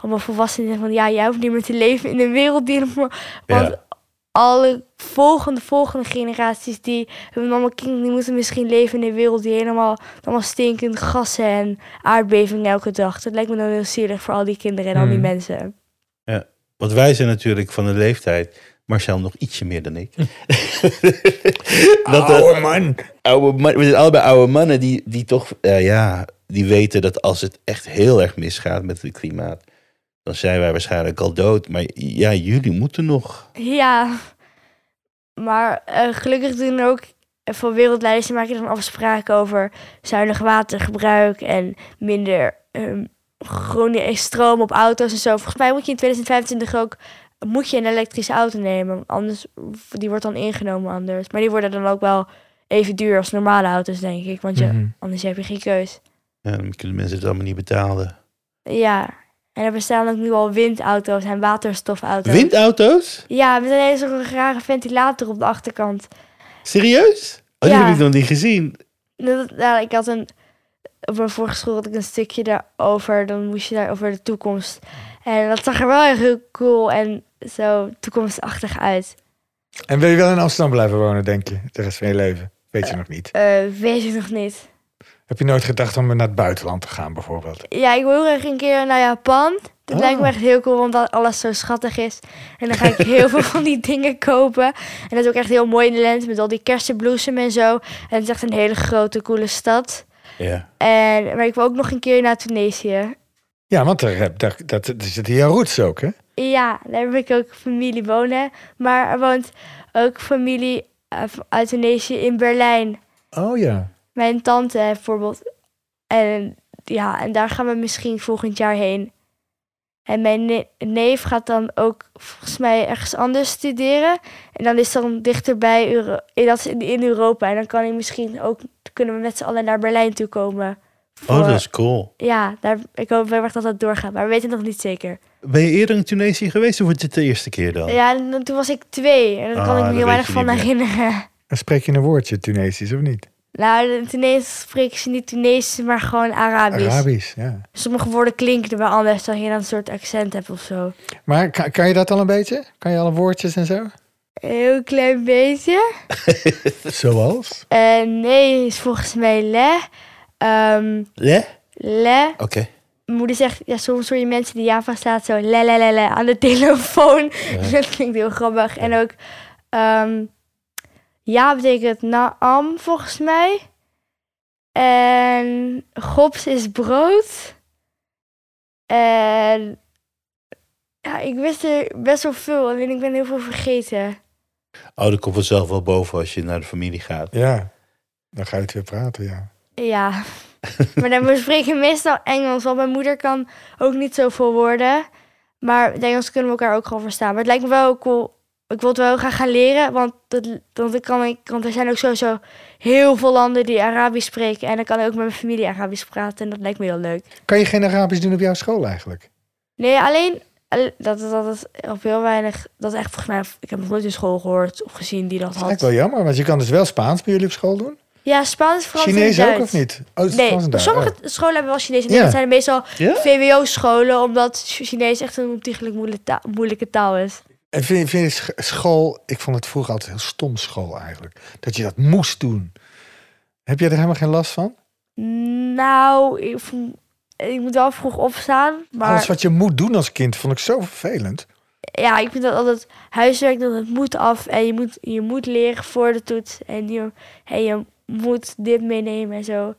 allemaal volwassenen van ja, jij hoeft niet meer te leven in een wereld die helemaal. Want Ja. alle volgende, volgende generaties die hun allemaal kinderen, die moeten misschien leven in een wereld die helemaal allemaal stinkend gassen en aardbevingen elke dag. Dat lijkt me dan heel zielig voor al die kinderen en al die Hmm. mensen. Want wij zijn natuurlijk van de leeftijd, Marcel nog ietsje meer dan ik. dat, eh, Oude Oh, man. oude man- we zijn allebei oude mannen die, die toch, eh, ja, die weten dat als het echt heel erg misgaat met het klimaat, dan zijn wij waarschijnlijk al dood. Maar ja, jullie moeten nog. Ja. Maar eh, gelukkig doen ook eh, voor wereldleiders die maken dan afspraken over zuinig watergebruik en minder ehm groene e-, stroom op auto's en zo. Volgens mij moet je in 2025 ook moet je een elektrische auto nemen, want anders die wordt dan ingenomen anders. Maar die worden dan ook wel even duur als normale auto's denk ik, want je, Mhm. anders heb je geen keus. Ja, dan kunnen mensen het allemaal niet betalen. Ja. En er bestaan ook nu al windauto's en waterstofauto's. Windauto's? Ja, met ineens ook een rare ventilator op de achterkant. Serieus? Oh, die Ja. heb ik nog niet gezien. Dat- Nou, ik had een. Op mijn vorige school had ik een stukje daarover. Dan moest je daar over de toekomst. En dat zag er wel echt heel cool en zo toekomstachtig uit. En wil je wel in Amsterdam blijven wonen, denk je? De rest van je leven? Weet je nog niet. Eh, weet ik nog niet. Heb je nooit gedacht om naar het buitenland te gaan, bijvoorbeeld? Ja, ik wil heel graag een keer naar Japan. Dat Oh. lijkt me echt heel cool, omdat alles zo schattig is. En dan ga ik heel veel van die dingen kopen. En dat is ook echt heel mooi in de lente met al die kersenbloesem en zo. En het is echt een hele grote, coole stad. Ja. En, maar ik wil ook nog een keer naar Tunesië. Ja, want daar, heb- daar, dat, daar zitten jouw roots ook, hè? Ja, daar heb ik ook familie wonen. Maar er woont ook familie eh, v- uit Tunesië in Berlijn. Oh ja. Mijn tante eh, bijvoorbeeld. En ja, en daar gaan we misschien volgend jaar heen. En mijn ne- neef gaat dan ook volgens mij ergens anders studeren. En dan is dan dichterbij Euro eh, dat is in, in Europa. En dan kan hij misschien ook, kunnen we met z'n allen naar Berlijn toe komen. Oh, dat is cool. Ja, daar, ik hoop heel erg dat dat doorgaat. Maar we weten het nog niet zeker. Ben je eerder in Tunesië geweest of wordt dit de eerste keer dan? Ja, en dan- toen was ik twee. En daar Oh. Ah, kan ik me dat heel weet weinig je van niet meer. herinneren. En spreek je een woordje Tunesisch of niet? Nou, Tunees spreken ze niet Tunesisch, maar gewoon Arabisch. Arabisch, ja. Sommige woorden klinken wel anders dan je dan een soort accent hebt of zo. Maar kan, kan je dat al een beetje? Kan je alle woordjes en zo? Een heel klein beetje. Zoals? Eh, nee is volgens mij le. Ehm, Le? le. Oké. Mijn moeder zegt, ja, soms hoor je mensen die Java staat zo le, le, le, le aan de telefoon. Dat klinkt heel grappig. En ook ehm, ja betekent naam volgens mij. En gops is brood. En ja, ik wist er best wel veel. Alleen ik ben heel veel vergeten. Oh, dat komt vanzelf wel boven als je naar de familie gaat. Ja. Dan ga je het weer praten, ja. Ja. maar dan we spreken meestal Engels. Want mijn moeder kan ook niet zoveel woorden. Maar het Engels kunnen we elkaar ook gewoon verstaan. Maar het lijkt me wel heel cool. Ik wil het wel heel graag gaan leren. Want, dat, want, ik kan, ik, want er zijn ook sowieso heel veel landen die Arabisch spreken. En dan kan ik ook met mijn familie Arabisch praten. En dat lijkt me heel leuk. Kan je geen Arabisch doen op jouw school eigenlijk? Nee, alleen... al- Dat, dat, dat is op heel weinig... Dat is echt volgens mij... Ik heb nog nooit een school gehoord of gezien die dat Dat is eigenlijk had. wel jammer, want je kan dus wel Spaans bij jullie op school doen. Ja, Spaans, Frans en Chinees Duits. ook of niet? Oh, het is Nee, Frans en Duits. sommige Oh. scholen hebben wel Chinees. En Ja. dat zijn meestal Ja? VWO-scholen, omdat Chinees echt een ontiegelijk moeilijke taal, moeilijke taal is. En vind, vind je sch- school, ik vond het vroeger altijd heel stom school eigenlijk. Dat je dat moest doen. Heb jij er helemaal geen last van? Nou, ik, vond- ik moet wel vroeg opstaan. Alles Maar wat je moet doen als kind vond ik zo vervelend. ja, ik vind dat altijd huiswerk, dat het moet af. En je moet, je moet leren voor de toets. En je, en je moet dit meenemen en zo.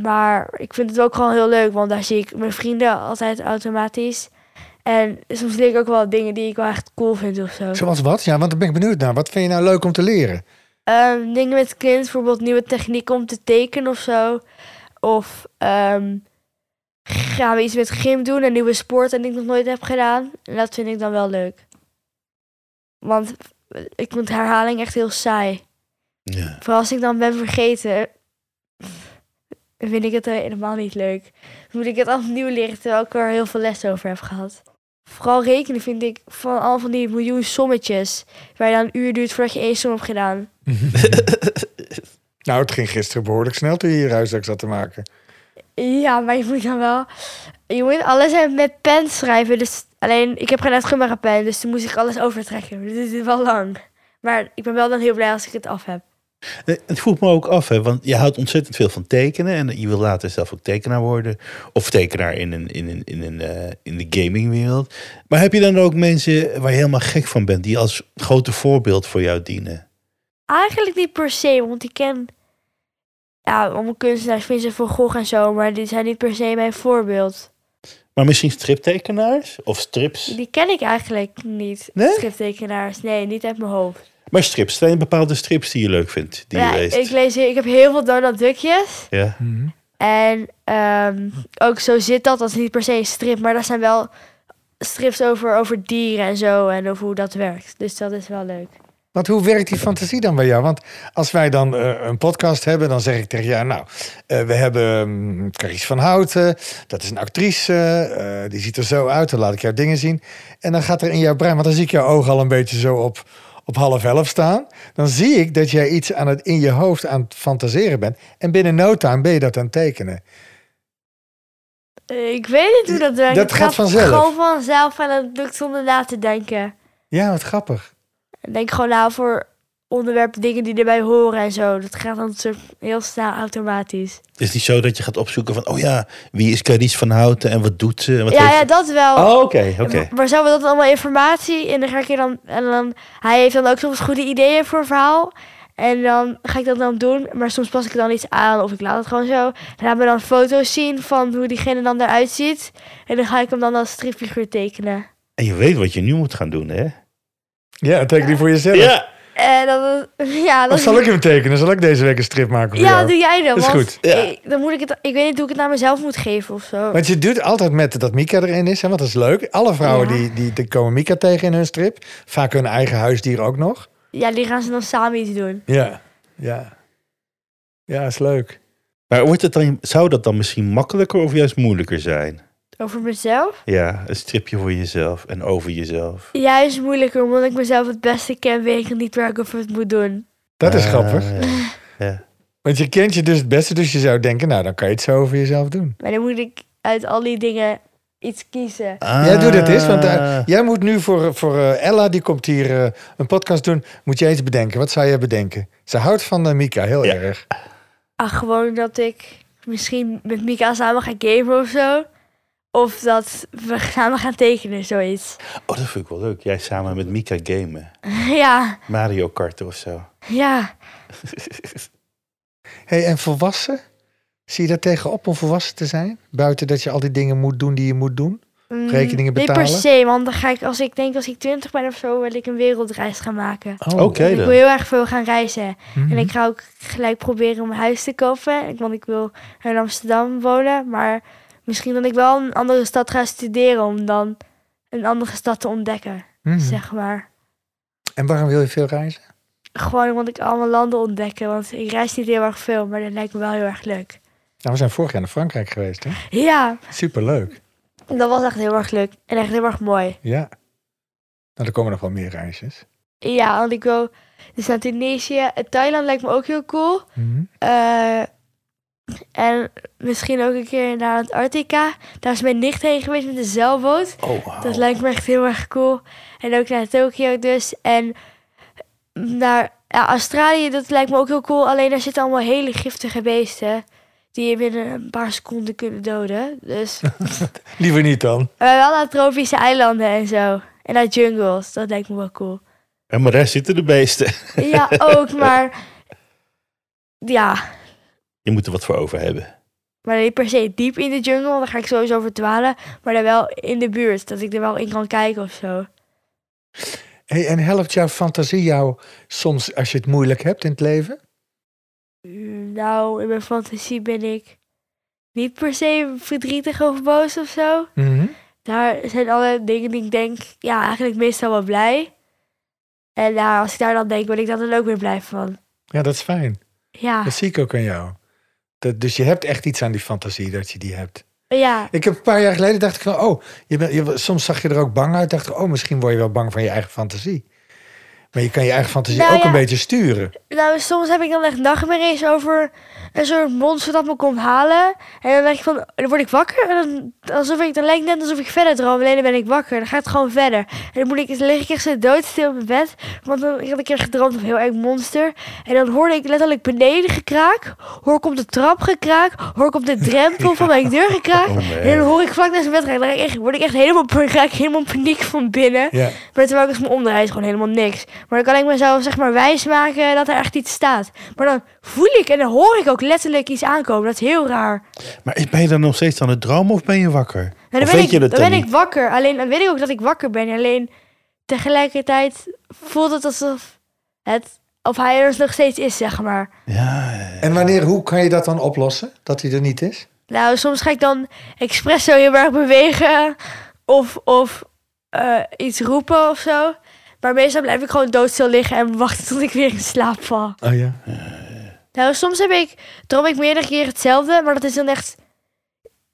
Maar ik vind het ook gewoon heel leuk, want daar zie ik mijn vrienden altijd automatisch. En soms leer ik ook wel dingen die ik wel echt cool vind of zo. Zoals wat? Ja, want daar ben ik benieuwd naar. Wat vind je nou leuk om te leren? Ehm, dingen met kind, bijvoorbeeld nieuwe technieken om te tekenen of zo. Of ehm, gaan we iets met gym doen, een nieuwe sport en die ik nog nooit heb gedaan. En dat vind ik dan wel leuk. Want eh, ik vind herhaling echt heel saai. Ja. Vooral als ik dan ben vergeten, vind ik het helemaal niet leuk. Dan moet ik het opnieuw leren, terwijl ik er heel veel les over heb gehad. Vooral rekenen vind ik van al van die miljoen sommetjes, waar je dan een uur duurt voordat je één som hebt gedaan. Nou, het ging gisteren behoorlijk snel toen je hier huiswerk zat te maken. Ja, maar je moet dan wel. Je moet alles even met pen schrijven. Dus alleen, ik heb geen uitgumbare pen, dus toen moest ik alles overtrekken. Dus dit is wel lang. Maar ik ben wel dan heel blij als ik het af heb. Eh, Het voelt me ook af, hè, want je houdt ontzettend veel van tekenen. En je wil later zelf ook tekenaar worden. Of tekenaar in, een, in, een, in, een, eh, in de gamingwereld. Maar heb je dan ook mensen waar je helemaal gek van bent, die als grote voorbeeld voor jou dienen? Eigenlijk niet per se, want ik ken... Ja, allemaal kunstenaars, Vincent van Gogh en zo, maar die zijn niet per se mijn voorbeeld. Maar misschien striptekenaars of strips. Die ken ik eigenlijk niet. Nee? Striptekenaars, nee, niet uit mijn hoofd. Maar strips, zijn er bepaalde strips die je leuk vindt, die ja, je leest. ik lees, ik heb heel veel Donald Duckjes. Ja. Mhm. En ehm, ook zo zit dat. Dat is niet per se een strip, maar daar zijn wel strips over, over dieren en zo en over hoe dat werkt. Dus dat is wel leuk. Want hoe werkt die fantasie dan bij jou? Want als wij dan eh, een podcast hebben, dan zeg ik tegen jou... nou, eh, we hebben mm, Carice van Houten, dat is een actrice, eh, die ziet er zo uit, dan laat ik jou dingen zien. En dan gaat er in jouw brein, want dan zie ik jouw ogen al een beetje zo op, op half elf staan... dan zie ik dat jij iets aan het, in je hoofd aan het fantaseren bent... en binnen no time ben je dat aan het tekenen. Eh, Ik weet niet hoe dat werkt. Dat Het gaat vanzelf. Gewoon vanzelf en dat doe ik zonder na te denken. Ja, wat grappig. Ik denk gewoon na voor onderwerpen, dingen die erbij horen en zo. Dat gaat dan soort heel snel automatisch. Het is niet zo dat je gaat opzoeken van, oh ja, wie is Carice van Houten en wat doet ze? En wat ja, heeft ja, ze? dat wel. Oh, oké, oké. Maar- Maar zo we dat allemaal informatie en dan ga ik er dan en dan hij heeft dan ook soms goede ideeën voor een verhaal en dan ga ik dat dan doen, maar soms pas ik er dan iets aan of ik laat het gewoon zo. En laat me dan foto's zien van hoe diegene dan eruit ziet en dan ga ik hem dan als stripfiguur tekenen. En je weet wat je nu moet gaan doen, hè? Ja, teken die voor jezelf. En dan ja, dat Of zal ik hem tekenen? Zal ik deze week een strip maken voor ja, jou? doe jij dan. Dat is want goed. Ja. ik- dan moet ik het, ik weet niet hoe ik het naar mezelf moet geven of zo. Want je doet altijd met dat Mika erin is, hè, want dat is leuk. Alle vrouwen die, die, die komen Mika tegen in hun strip. Vaak hun eigen huisdier ook nog. Ja, die gaan ze dan samen iets doen. Ja, ja. Ja, is leuk. Maar wordt het dan, zou dat dan misschien makkelijker of juist moeilijker zijn? Over mezelf. Ja, een stripje voor jezelf en over jezelf. Juist moeilijker, omdat ik mezelf het beste ken, weet ik niet waar ik over het moet doen. Dat is Ah, grappig. ja. Want je kent je dus het beste, dus je zou denken, nou, dan kan je het zo over jezelf doen. Maar dan moet ik uit al die dingen iets kiezen. Jij doet het eens, is, want eh, jij moet nu voor, voor eh, Ella, die komt hier eh, een podcast doen, moet je iets bedenken. Wat zou jij bedenken? Ze houdt van eh, Mika heel Ja. erg. Ach, Ah, gewoon dat ik misschien met Mika samen ga gamen of zo. Of dat we samen gaan tekenen, zoiets. Oh, dat vind ik wel leuk. Jij samen met Mika gamen. Ja, Mario Kart of zo. ja. hey, en volwassen? Zie je daar tegenop om volwassen te zijn? Buiten dat je al die dingen moet doen die je moet doen? Mm, Rekeningen Niet betalen? per se, want dan ga ik, als ik denk als ik twintig ben of zo, wil ik een wereldreis gaan maken. Oh. Oké ik wil dan. heel erg veel gaan reizen. En Mhm. ik ga ook gelijk proberen om een huis te kopen. ik- Want ik wil in Amsterdam wonen. Maar misschien dat ik wel een andere stad ga studeren. Om dan een andere stad te ontdekken. Mhm. Zeg maar. En waarom wil je veel reizen? Gewoon omdat ik allemaal landen ontdekken. Want ik reis niet heel erg veel. Maar dat lijkt me wel heel erg leuk. Nou, we zijn vorig jaar naar Frankrijk geweest, hè? Ja, Superleuk. dat was echt heel erg leuk. En echt heel erg mooi. Ja. Nou, er komen nog wel meer reisjes. Ja, want ik wil dus naar Tunesië. Eh, Thailand lijkt me ook heel cool. Eh, en misschien ook een keer naar Antarctica. Daar is mijn nicht heen geweest met een zeilboot. Oh, wauw. Dat lijkt me echt heel erg cool. En ook naar Tokio dus. En naar ja, Australië, dat lijkt me ook heel cool. Alleen daar zitten allemaal hele giftige beesten. Die je binnen een paar seconden kunnen doden. Dus maar Liever niet dan. wel naar tropische eilanden en zo. En naar jungles, dat lijkt me wel cool. En maar daar zitten de beesten. Ja, ook, maar... Ja, Je moet er wat voor over hebben. maar niet per se diep in de jungle, want daar ga ik sowieso verdwalen. Maar dan wel in de buurt, dat ik er wel in kan kijken of zo. Hey, en helpt jouw fantasie jou soms als je het moeilijk hebt in het leven? Mm, Nou, in mijn fantasie ben ik niet per se verdrietig of boos of zo. Daar zijn alle dingen die ik denk, ja, eigenlijk meestal wel blij. En nou, als ik daar dan denk, word ik daar dan ook weer blij van. Ja, dat is fijn. Ja, Dat zie ik ook aan jou. Dat, dus je hebt echt iets aan die fantasie dat je die hebt. ja, Ik heb een paar jaar geleden dacht ik van, oh, je bent- je, soms zag je er ook bang uit. Dacht ik, oh, misschien word je wel bang van je eigen fantasie. Maar je kan je eigen fantasie Nou ook ja. een beetje sturen. Nou, soms heb ik dan echt nachtmerries over een soort monster dat me komt halen. En dan denk ik van, dan word ik wakker. En dan, alsof ik, dan lijkt het net alsof ik verder droom. Alleen dan ben ik wakker. Dan gaat het gewoon verder. En dan, moet ik, dan lig ik echt zo doodstil op mijn bed. Want dan, ik had een keer gedroomd van een heel eng monster. En dan hoorde ik letterlijk beneden gekraak. Hoor ik op de trap gekraak. Hoor ik op de drempel van mijn deur gekraak. Oh, man. en dan hoor ik vlak naast mijn bed raak. Dan raak ik echt- word ik echt helemaal, raak ik helemaal in paniek van binnen. Ja. Maar terwijl ik is mijn onderhuis gewoon helemaal niks. Maar dan kan ik mezelf zeg maar wijs maken dat er echt iets staat. Maar dan voel ik en dan hoor ik ook letterlijk iets aankomen. Dat is heel raar. Maar is- ben je dan nog steeds aan het dromen of ben je wakker? En Of dan ben, weet ik, je het dan dan ben ik niet? wakker. Alleen dan weet ik ook dat ik wakker ben. Alleen tegelijkertijd voelt het alsof het of hij er nog steeds is, zeg maar. Ja, ja, ja. En wanneer, hoe kan je dat dan oplossen? Dat hij er niet is? Nou, soms ga ik dan expres zo heel erg bewegen of, of eh, iets roepen of zo. Maar meestal blijf ik gewoon doodstil liggen en wachten tot ik weer in slaap val. Oh ja. Nou, soms heb ik, droom ik meerdere keren hetzelfde, maar dat is dan echt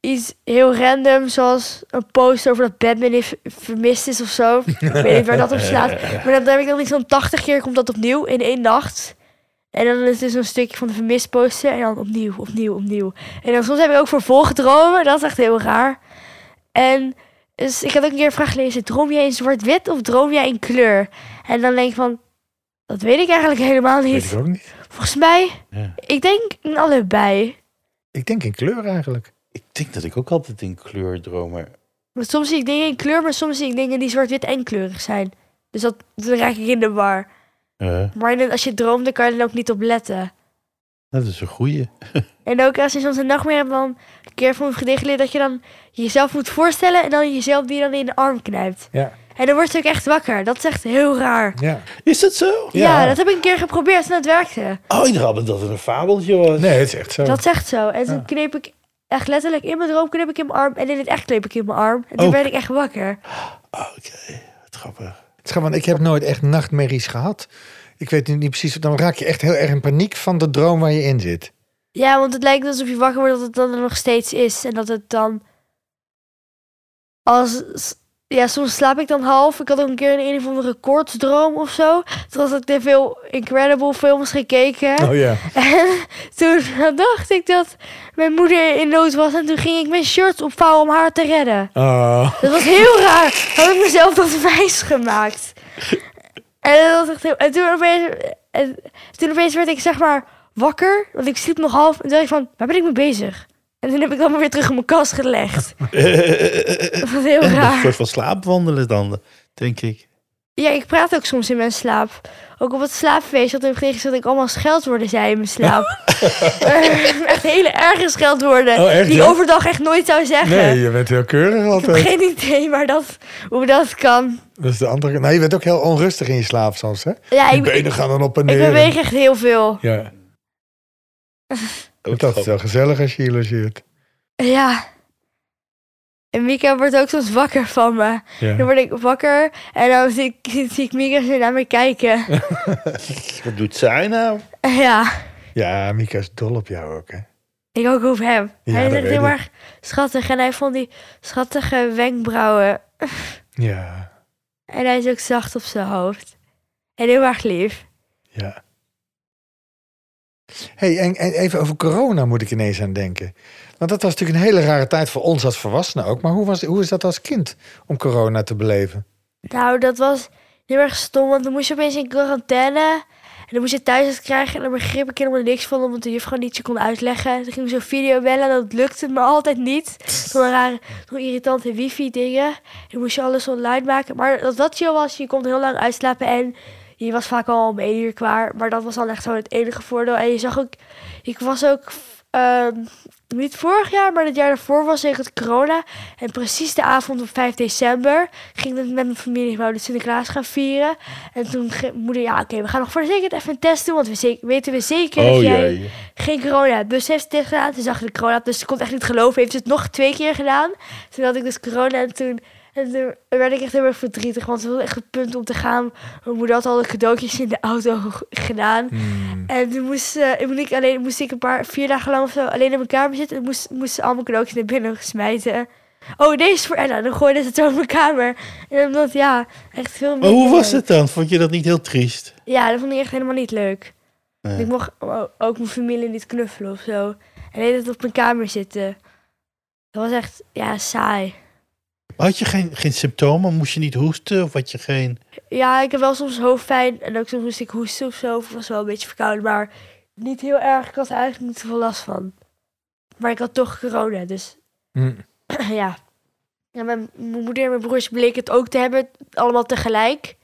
iets heel random, zoals een post over dat Batman heeft vermist is of zo. ik weet niet waar dat op slaat. Maar dat heb ik dan niet zo'n 80 keer, komt dat opnieuw in één nacht. En dan is het dus een stukje van de vermist posten en dan opnieuw, opnieuw, opnieuw. En dan soms heb ik ook vervolgdromen, dat is echt heel raar. En dus ik had ook een keer een vraag gelezen, droom jij in zwart-wit of droom jij in kleur? En dan denk ik van, dat weet ik eigenlijk helemaal Weet niet. ik ook niet. Volgens mij, Ja. ik denk in allebei. Ik denk in kleur eigenlijk. Ik denk dat ik ook altijd in kleur droom. maar- Want soms zie ik dingen in kleur, maar soms zie ik dingen die zwart-wit en kleurig zijn. Dus dat, dan raak ik in de war. Eh, Maar dan- als je droomt, dan kan je er ook niet op letten. dat is een goeie. En ook als je soms een nachtmerrie hebt, dan een keer van mijn vriendin geleerd dat je dan jezelf moet voorstellen en dan jezelf die dan in de arm knijpt. Ja. En dan word je ook echt wakker. Dat is echt heel raar. ja. Is dat zo? Ja. Ja, dat heb ik een keer geprobeerd en dat werkte. Oh, ik dacht dat het een fabeltje was. Nee, het is echt zo. Dat is echt zo. En Ja. toen kneep ik echt letterlijk in mijn droom kneep ik in mijn arm en in het echt kneep ik in mijn arm. En toen Ook. werd ik echt wakker. Oh, Oké, wat grappig. Het is gewoon, ik heb nooit echt nachtmerries gehad. Ik weet nu niet precies, dan raak je echt heel erg in paniek van de droom waar je in zit. Ja, want het lijkt alsof je wakker wordt dat het dan er nog steeds is. En dat het dan. Als. Ja, soms slaap ik dan half. Ik had ook een keer een, een of andere koortsdroom of zo. Toen had ik te veel Incredible films gekeken. Oh ja. En toen dacht ik dat mijn moeder in nood was. En toen ging ik mijn shirts opvouwen om haar te redden. Oh, Dat was heel raar. Had ik mezelf dat wijs gemaakt. En, dat was echt heel... en, toen, opeens... en toen opeens werd ik zeg maar wakker. Want ik sliep nog half. En toen dacht ik van, waar ben ik mee bezig? En toen heb ik allemaal weer terug in mijn kast gelegd. Eh, Dat was heel Een soort raar. van slaapwandelen dan, denk ik. Ja, ik praat ook soms in mijn slaap. Ook op het slaapfeest had ik gezegd dat ik allemaal scheldwoorden zei in mijn slaap. echt hele erge scheldwoorden. Oh, echt, die ik ja? overdag echt nooit zou zeggen. je bent heel keurig Ik heb geen idee maar dat, hoe dat kan. Dat is de andere Nou, je bent ook heel onrustig in je slaap soms, hè? Ja, Je ik, ik benen gaan dan op en neer. beweeg echt heel veel. Ja, dat is wel gezellig als je hier logeert. Ja. En Mika wordt ook soms wakker van me. Dan Ja. word ik wakker en dan zie ik, zie ik Mika zo naar me kijken. Wat doet zij nou? ja, ja, Mika is dol op jou ook, hè? ik ook op hem. Ja, hij dat is echt weet heel ik. erg schattig en hij vond die schattige wenkbrauwen. Ja, En hij is ook zacht op zijn hoofd. En heel erg lief. ja. hey, en, en even over corona moet ik ineens aan denken. Want dat was natuurlijk een hele rare tijd voor ons als volwassenen ook. Maar hoe, was, hoe is dat als kind om corona te beleven? Nou, dat was heel erg stom, want dan moest je opeens in quarantaine. En dan moest je thuis krijgen en dan begreep ik helemaal niks van, omdat de juf gewoon niet je kon uitleggen. Toen ging ik zo'n video bellen en dat lukte me altijd niet. Zo'n rare, zo'n irritante wifi dingen. En dan moest je alles online maken. Maar dat dat chill was, je kon heel lang uitslapen en je was vaak al om één uur klaar. Maar dat was dan echt gewoon het enige voordeel. En je zag ook, ik was ook... ehm, niet vorig jaar, maar het jaar daarvoor was tegen het corona. En precies de avond op 5 december ging ik met mijn familie wou de Sinterklaas gaan vieren. En toen ging mijn moeder, ja oké, we gaan nog voor de zekerheid even een test doen. Want we zeker, weten we zeker Oh, dat jij geen corona hebt. Dus ze heeft het test gedaan, toen zag ik de corona. Dus ze kon het echt niet geloven. Heeft ze het nog twee keer gedaan. Toen had ik dus corona en toen... En toen werd ik echt heel erg verdrietig, want ze wilde echt het punt om te gaan. Mijn moeder had al de cadeautjes in de auto gedaan. En toen moest, eh, ik moest ik alleen moest ik een paar vier dagen lang of zo alleen in mijn kamer zitten. En moest, moest ze allemaal cadeautjes naar binnen smijten. Oh, deze is voor Ella. Dan gooide ze het over mijn kamer. En omdat, ja, echt veel Maar hoe minder was leuk. het dan? Vond je dat niet heel triest? Ja, dat vond ik echt helemaal niet leuk. Nee. Ik mocht o- ook mijn familie niet knuffelen of zo. En de hele tijd op mijn kamer zitten. Dat was echt, ja, saai. Had je geen, geen symptomen? Moest je niet hoesten? Of had je geen... Ja, ik heb wel soms hoofdpijn. En ook soms moest ik hoesten of zo. Of ik was wel een beetje verkouden. Maar niet heel erg. Ik had er eigenlijk niet zoveel last van. Maar ik had toch corona, dus Hm. ja. ja mijn, mijn moeder en mijn broers bleken het ook te hebben, allemaal tegelijk.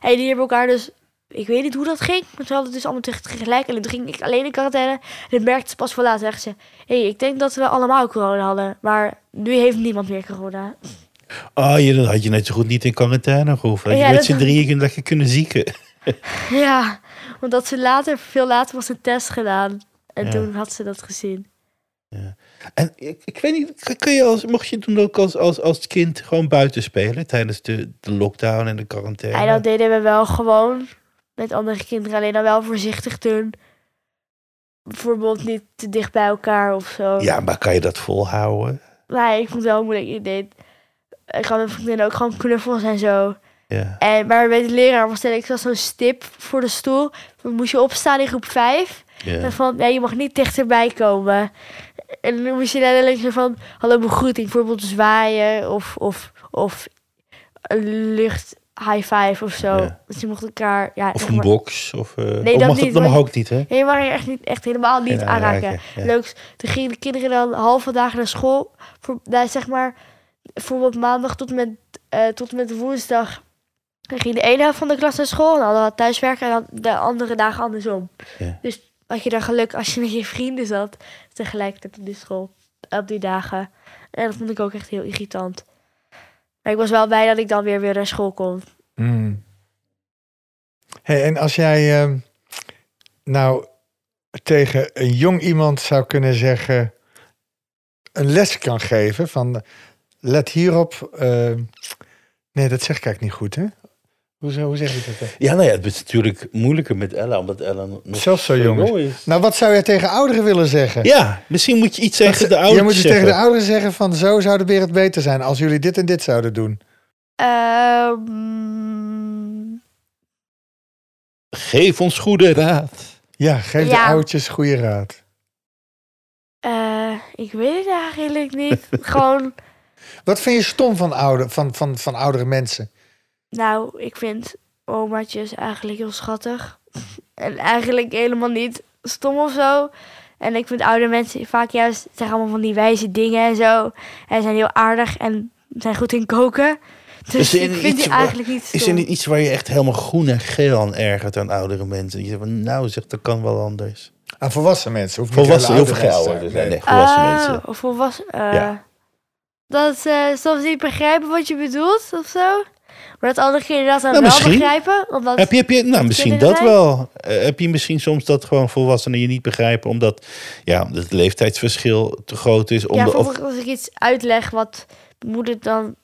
En die hebben elkaar dus, ik weet niet hoe dat ging, maar ze hadden het dus allemaal teg- tegelijk. En toen ging ik alleen in quarantaine. En dat merkte ze pas voor later. Zeggen ze, hé, hey, ik denk dat we allemaal corona hadden. Maar nu heeft niemand meer corona. Oh, je, dan had je net zo goed niet in quarantaine gehoeven. Had Ja, je met dat- z'n drieën kun- lekker kunnen zieken. ja, omdat ze later, veel later was een test gedaan. En Ja. toen had ze dat gezien. En ik, ik weet niet, k- kun je als, mocht je toen ook als, als, als kind gewoon buiten spelen tijdens de, de lockdown en de quarantaine? En dat deden we wel gewoon met andere kinderen. Alleen dan wel voorzichtig doen. Bijvoorbeeld niet te dicht bij elkaar of zo. Ja, maar kan je dat volhouden? Nee, ik vond het wel moeilijk. Ik deed. Ik had mijn vriendinnen ook gewoon knuffels en zo. Ja. En, maar bij de leraar was er ik zo'n stip voor de stoel. Dan moest je opstaan in groep 5. ja. En van, nee, je mag niet dichterbij komen. En dan moest je letterlijk zo van, hallo begroeting. Bijvoorbeeld zwaaien of, of, of een lucht high five of zo. Ja. Dus je mocht elkaar... Ja, Of zeg een maar- box. Of, eh, Nee, of dat mag niet, dat maar- mag ook niet, hè? Ja, je mag je echt, niet, echt helemaal niet Ja, aanraken. ja. Leuks. Toen gingen de kinderen dan halve dagen naar school. Voor, nou, zeg maar, bijvoorbeeld maandag tot en met, eh, tot en met woensdag. Dan ging de ene helft van de klas naar school. En dan hadden we thuiswerken. En dan de andere dagen andersom. Ja. Dus had je dan geluk als je met je vrienden zat. Tegelijkertijd op die school. Op die dagen. En dat vond ik ook echt heel irritant. Maar ik was wel blij dat ik dan weer weer naar school kon. Mm. Hey, en als jij eh, nou tegen een jong iemand zou kunnen zeggen, een les kan geven van eh, let hierop. eh, nee, dat zeg ik eigenlijk niet goed, hè? Hoe, zou- hoe zeg je dat? dan? Ja, nou ja, het is natuurlijk moeilijker met Ella, omdat Ella nog Zelfs zo jong is. is. Nou, wat zou jij tegen ouderen willen zeggen? Ja, misschien moet je iets tegen de Je ouders moet dus zeggen. tegen de ouderen zeggen van zo zou de wereld beter zijn als jullie dit en dit zouden doen. Ehm, Geef ons goede raad. Ja, geef Ja. de oudjes goede raad. Eh, ik weet het eigenlijk niet. Gewoon, Wat vind je stom van, oude, van, van, van oudere mensen? nou, ik vind omaatjes eigenlijk heel schattig. En eigenlijk helemaal niet stom of zo. En ik vind oude mensen vaak juist, het zijn allemaal van die wijze dingen en zo. En zijn heel aardig en zijn goed in koken. Dus Is er ik iets vind die waar- eigenlijk niet stom. Is er niet iets waar je echt helemaal groen en geel aan ergert aan oudere mensen? Je zegt van, nou zeg, dat kan wel anders. Aan volwassen mensen. Hoeft niet Volwassen, heel hele veel mensen ouderen. te Nee, zijn. nee, volwassen Ah, mensen. Of volwassen. eh, Ja. Dat ze soms niet begrijpen wat je bedoelt of zo. Maar dat andere kinderen dat dan Nou, wel misschien. begrijpen. Omdat Heb je, heb je, nou, misschien kinderen dat zijn? wel. Eh, heb je misschien soms dat gewoon volwassenen je niet begrijpen... omdat ja, omdat het leeftijdsverschil te groot is? Om ja, de, of- bijvoorbeeld als ik iets uitleg wat mijn moeder dan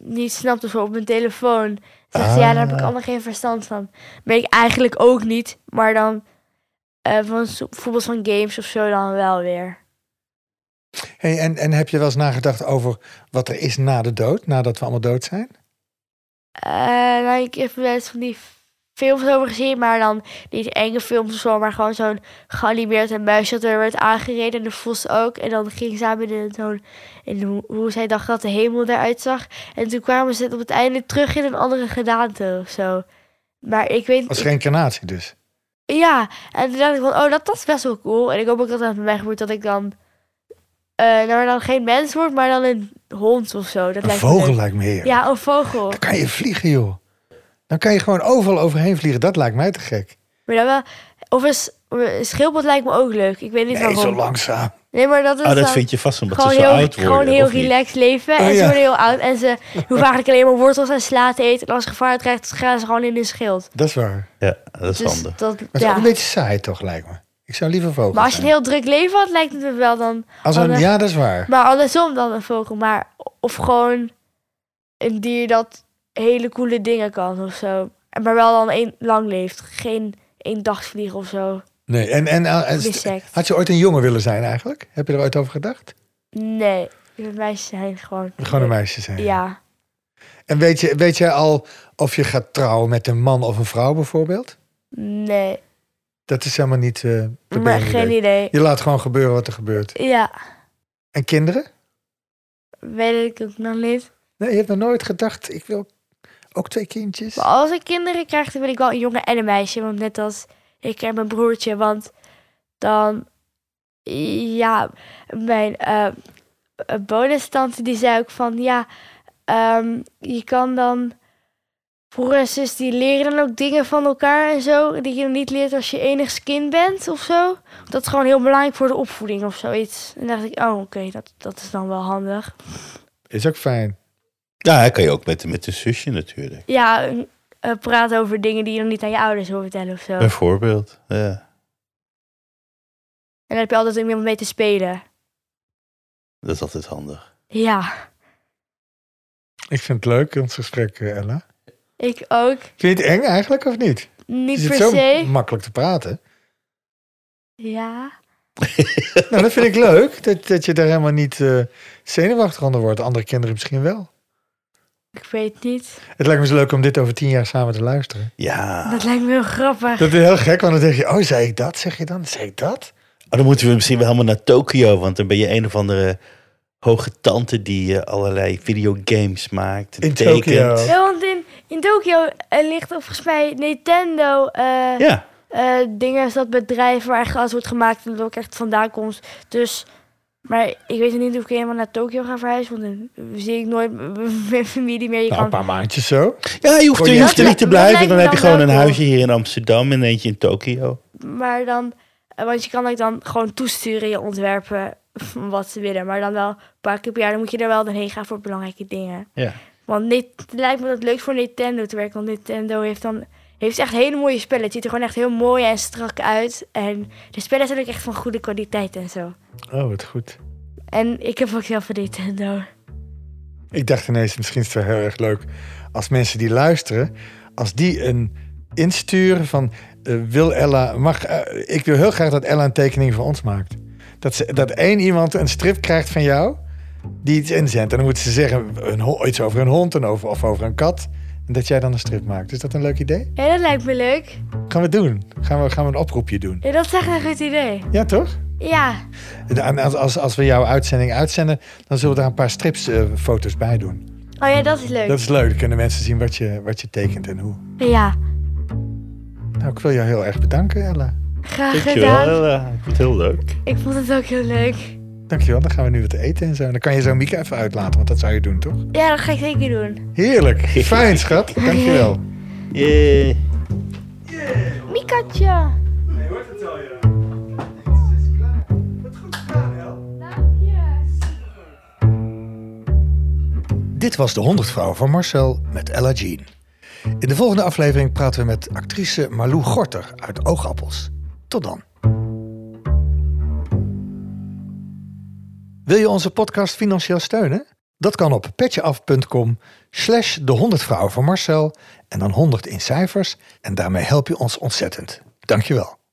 niet snapt of zo op mijn telefoon. Zegt ze, ja, daar heb ik Ah. allemaal geen verstand van. Ben ik eigenlijk ook niet, maar dan eh, van zo- bijvoorbeeld van games of zo dan wel weer. Hey, en, en heb je wel eens nagedacht over wat er is na de dood, nadat we allemaal dood zijn? Eh, nou, ik heb wel eens van die films over gezien, maar dan niet enge films of zo, maar gewoon zo'n geanimeerd en muisje dat er werd aangereden en de vos ook. En dan ging ze samen in zo'n, in hoe, hoe zij dacht dat de hemel eruit zag. En toen kwamen ze op het einde terug in een andere gedaante of zo. Maar ik weet Als reïncarnatie dus. ja, en toen dacht ik van, oh, dat, dat is best wel cool. En ik hoop ook dat dat bij mij gebeurt, dat ik dan, eh, nou maar dan geen mens word, maar dan een hond of zo. Dat Een lijkt me vogel leuk. lijkt me heerlijk. Ja, een vogel. Dan kan je vliegen, joh. Dan kan je gewoon overal overheen vliegen. Dat lijkt mij te gek. Maar dan wel, of een, s- een schildpad lijkt me ook leuk. Ik weet niet Nee, waarom. zo langzaam. Nee, maar dat is Ah, dat dan vind je vast omdat ze gewoon zo heel, oud worden. gewoon heel of niet? relaxed leven. Oh, en ze ja. worden heel oud. En ze hoeven eigenlijk alleen maar wortels en sla te eten. En als ze gevaar dreigt, gaan ze gewoon in hun schild. Dat is waar. Ja, dat is Dus handig. dat, Maar het is ook ja. een beetje saai toch, lijkt me. Ik zou liever vogel Maar als je een zijn. heel druk leven had, lijkt het me wel dan. Als een, ander- ja, dat is waar. Maar andersom dan een vogel. Maar of gewoon een dier dat hele coole dingen kan of zo. En Maar wel dan één lang leeft. Geen eendagsvlieg of zo. Nee, en, eh, en, en- Of insect. had je ooit een jongen willen zijn eigenlijk? Heb je er ooit over gedacht? Nee. De meisjes zijn gewoon. Gewoon een meisje zijn. Ja. En weet, je, weet jij al of je gaat trouwen met een man of een vrouw bijvoorbeeld? Nee. Dat is helemaal niet... eh dat ben je Maar niet geen weet. idee. Je laat gewoon gebeuren wat er gebeurt. Ja. En kinderen? Weet ik ook nog niet. Nee, je hebt nog nooit gedacht, ik wil ook twee kindjes. Maar als ik kinderen krijg, dan wil ik wel een jongen en een meisje. Want net als ik en mijn broertje. Want dan... Ja, mijn eh bonustante die zei ook van... Ja, ehm, je kan dan... Broer en zus die leren dan ook dingen van elkaar en zo. Die je dan niet leert als je enigst kind bent of zo. Dat is gewoon heel belangrijk voor de opvoeding of zoiets. En dan dacht ik, oh oké, dat, dat is dan wel handig. Is ook fijn. Ja, dat kan je ook met, met een zusje natuurlijk. Ja, eh, praten over dingen die je dan niet aan je ouders wil vertellen of zo. Bijvoorbeeld. Ja. En dan heb je altijd iemand mee te spelen. Dat is altijd handig. Ja, Ik vind het leuk, ons gesprek, eh, Ella. ik ook. Vind je het eng eigenlijk of niet? Niet je per zit zo se. makkelijk te praten. Ja. Nou, dat vind ik leuk, dat, dat je daar helemaal niet eh, zenuwachtig onder wordt. Andere kinderen misschien wel. Ik weet niet. Het lijkt me zo leuk om dit over tien jaar samen te luisteren. Ja. Dat lijkt me heel grappig. Dat is heel gek, want dan denk je, oh, zei ik dat? Zeg je dan, zei ik dat? Maar Oh, dan moeten we misschien wel helemaal naar Tokio. Want dan ben je een of andere hoge tante die eh, allerlei videogames maakt. In tekent. Tokio. Ja, want in, in Tokio eh, ligt er volgens mij Nintendo eh, Ja. eh, dingen. Is dat bedrijf waar echt alles wordt gemaakt en dat ook echt vandaan komt. Dus, maar ik weet niet of ik helemaal naar Tokio ga verhuizen. Want dan zie ik nooit m- mijn familie meer. Je Nou, een kan, paar maandjes zo. ja, je hoeft, er- je hoeft er Ja, niet te dat blijven. lijkt Dan me heb je dan gewoon een wel cool. huisje hier in Amsterdam en eentje in Tokio. maar dan, eh, want je kan ook dan gewoon toesturen je ontwerpen wat ze willen. Maar dan wel een paar keer per jaar. Dan moet je er wel doorheen gaan voor belangrijke dingen. Ja. Want dit het lijkt me dat leuk voor Nintendo te werken. Want Nintendo heeft dan heeft echt hele mooie spellen. Het ziet er gewoon echt heel mooi en strak uit. En de spellen zijn ook echt van goede kwaliteit en zo. Oh, wat goed. En ik heb ook zelf een Nintendo. Ik dacht ineens, misschien is het wel heel erg leuk als mensen die luisteren, als die een insturen van eh, wil Ella, mag, eh, ik wil heel graag dat Ella een tekening voor ons maakt. Dat, ze, dat één iemand een strip krijgt van jou die iets inzendt. En dan moeten ze zeggen een, ho- iets over een hond en over, of over een kat. En dat jij dan een strip maakt. Is dat een leuk idee? Ja, dat lijkt me leuk. Gaan we doen. Gaan we, gaan we een oproepje doen. Ja, dat is echt een goed idee. Ja, toch? Ja, En als, als, als we jouw uitzending uitzenden, dan zullen we daar een paar strips eh, foto's bij doen. oh ja, dat is leuk. Dat is leuk. Dan kunnen mensen zien wat je, wat je tekent en hoe. Ja, Nou, ik wil jou heel erg bedanken, Ella. graag gedaan. Dankjewel. Ella. Ik vond het heel leuk. Ik vond het ook heel leuk. Dankjewel, dan gaan we nu wat eten en zo. En dan kan je zo Mieke even uitlaten, want dat zou je doen, toch? Ja, dat ga ik zeker doen. Heerlijk. Fijn, schat. Dankjewel. Yay. Mikatje! Nee, hoort het al, ja. Het is klaar. Wat goed gedaan, El. Dank je. Dit was De Honderdvrouw van Marcel met Ella Jean. In de volgende aflevering praten we met actrice Marlou Gorter uit Oogappels. Tot dan. Wil je onze podcast financieel steunen? Dat kan op petjeaf.com slash de 100 vrouwen van Marcel en dan 100 in cijfers. En daarmee help je ons ontzettend. Dankjewel.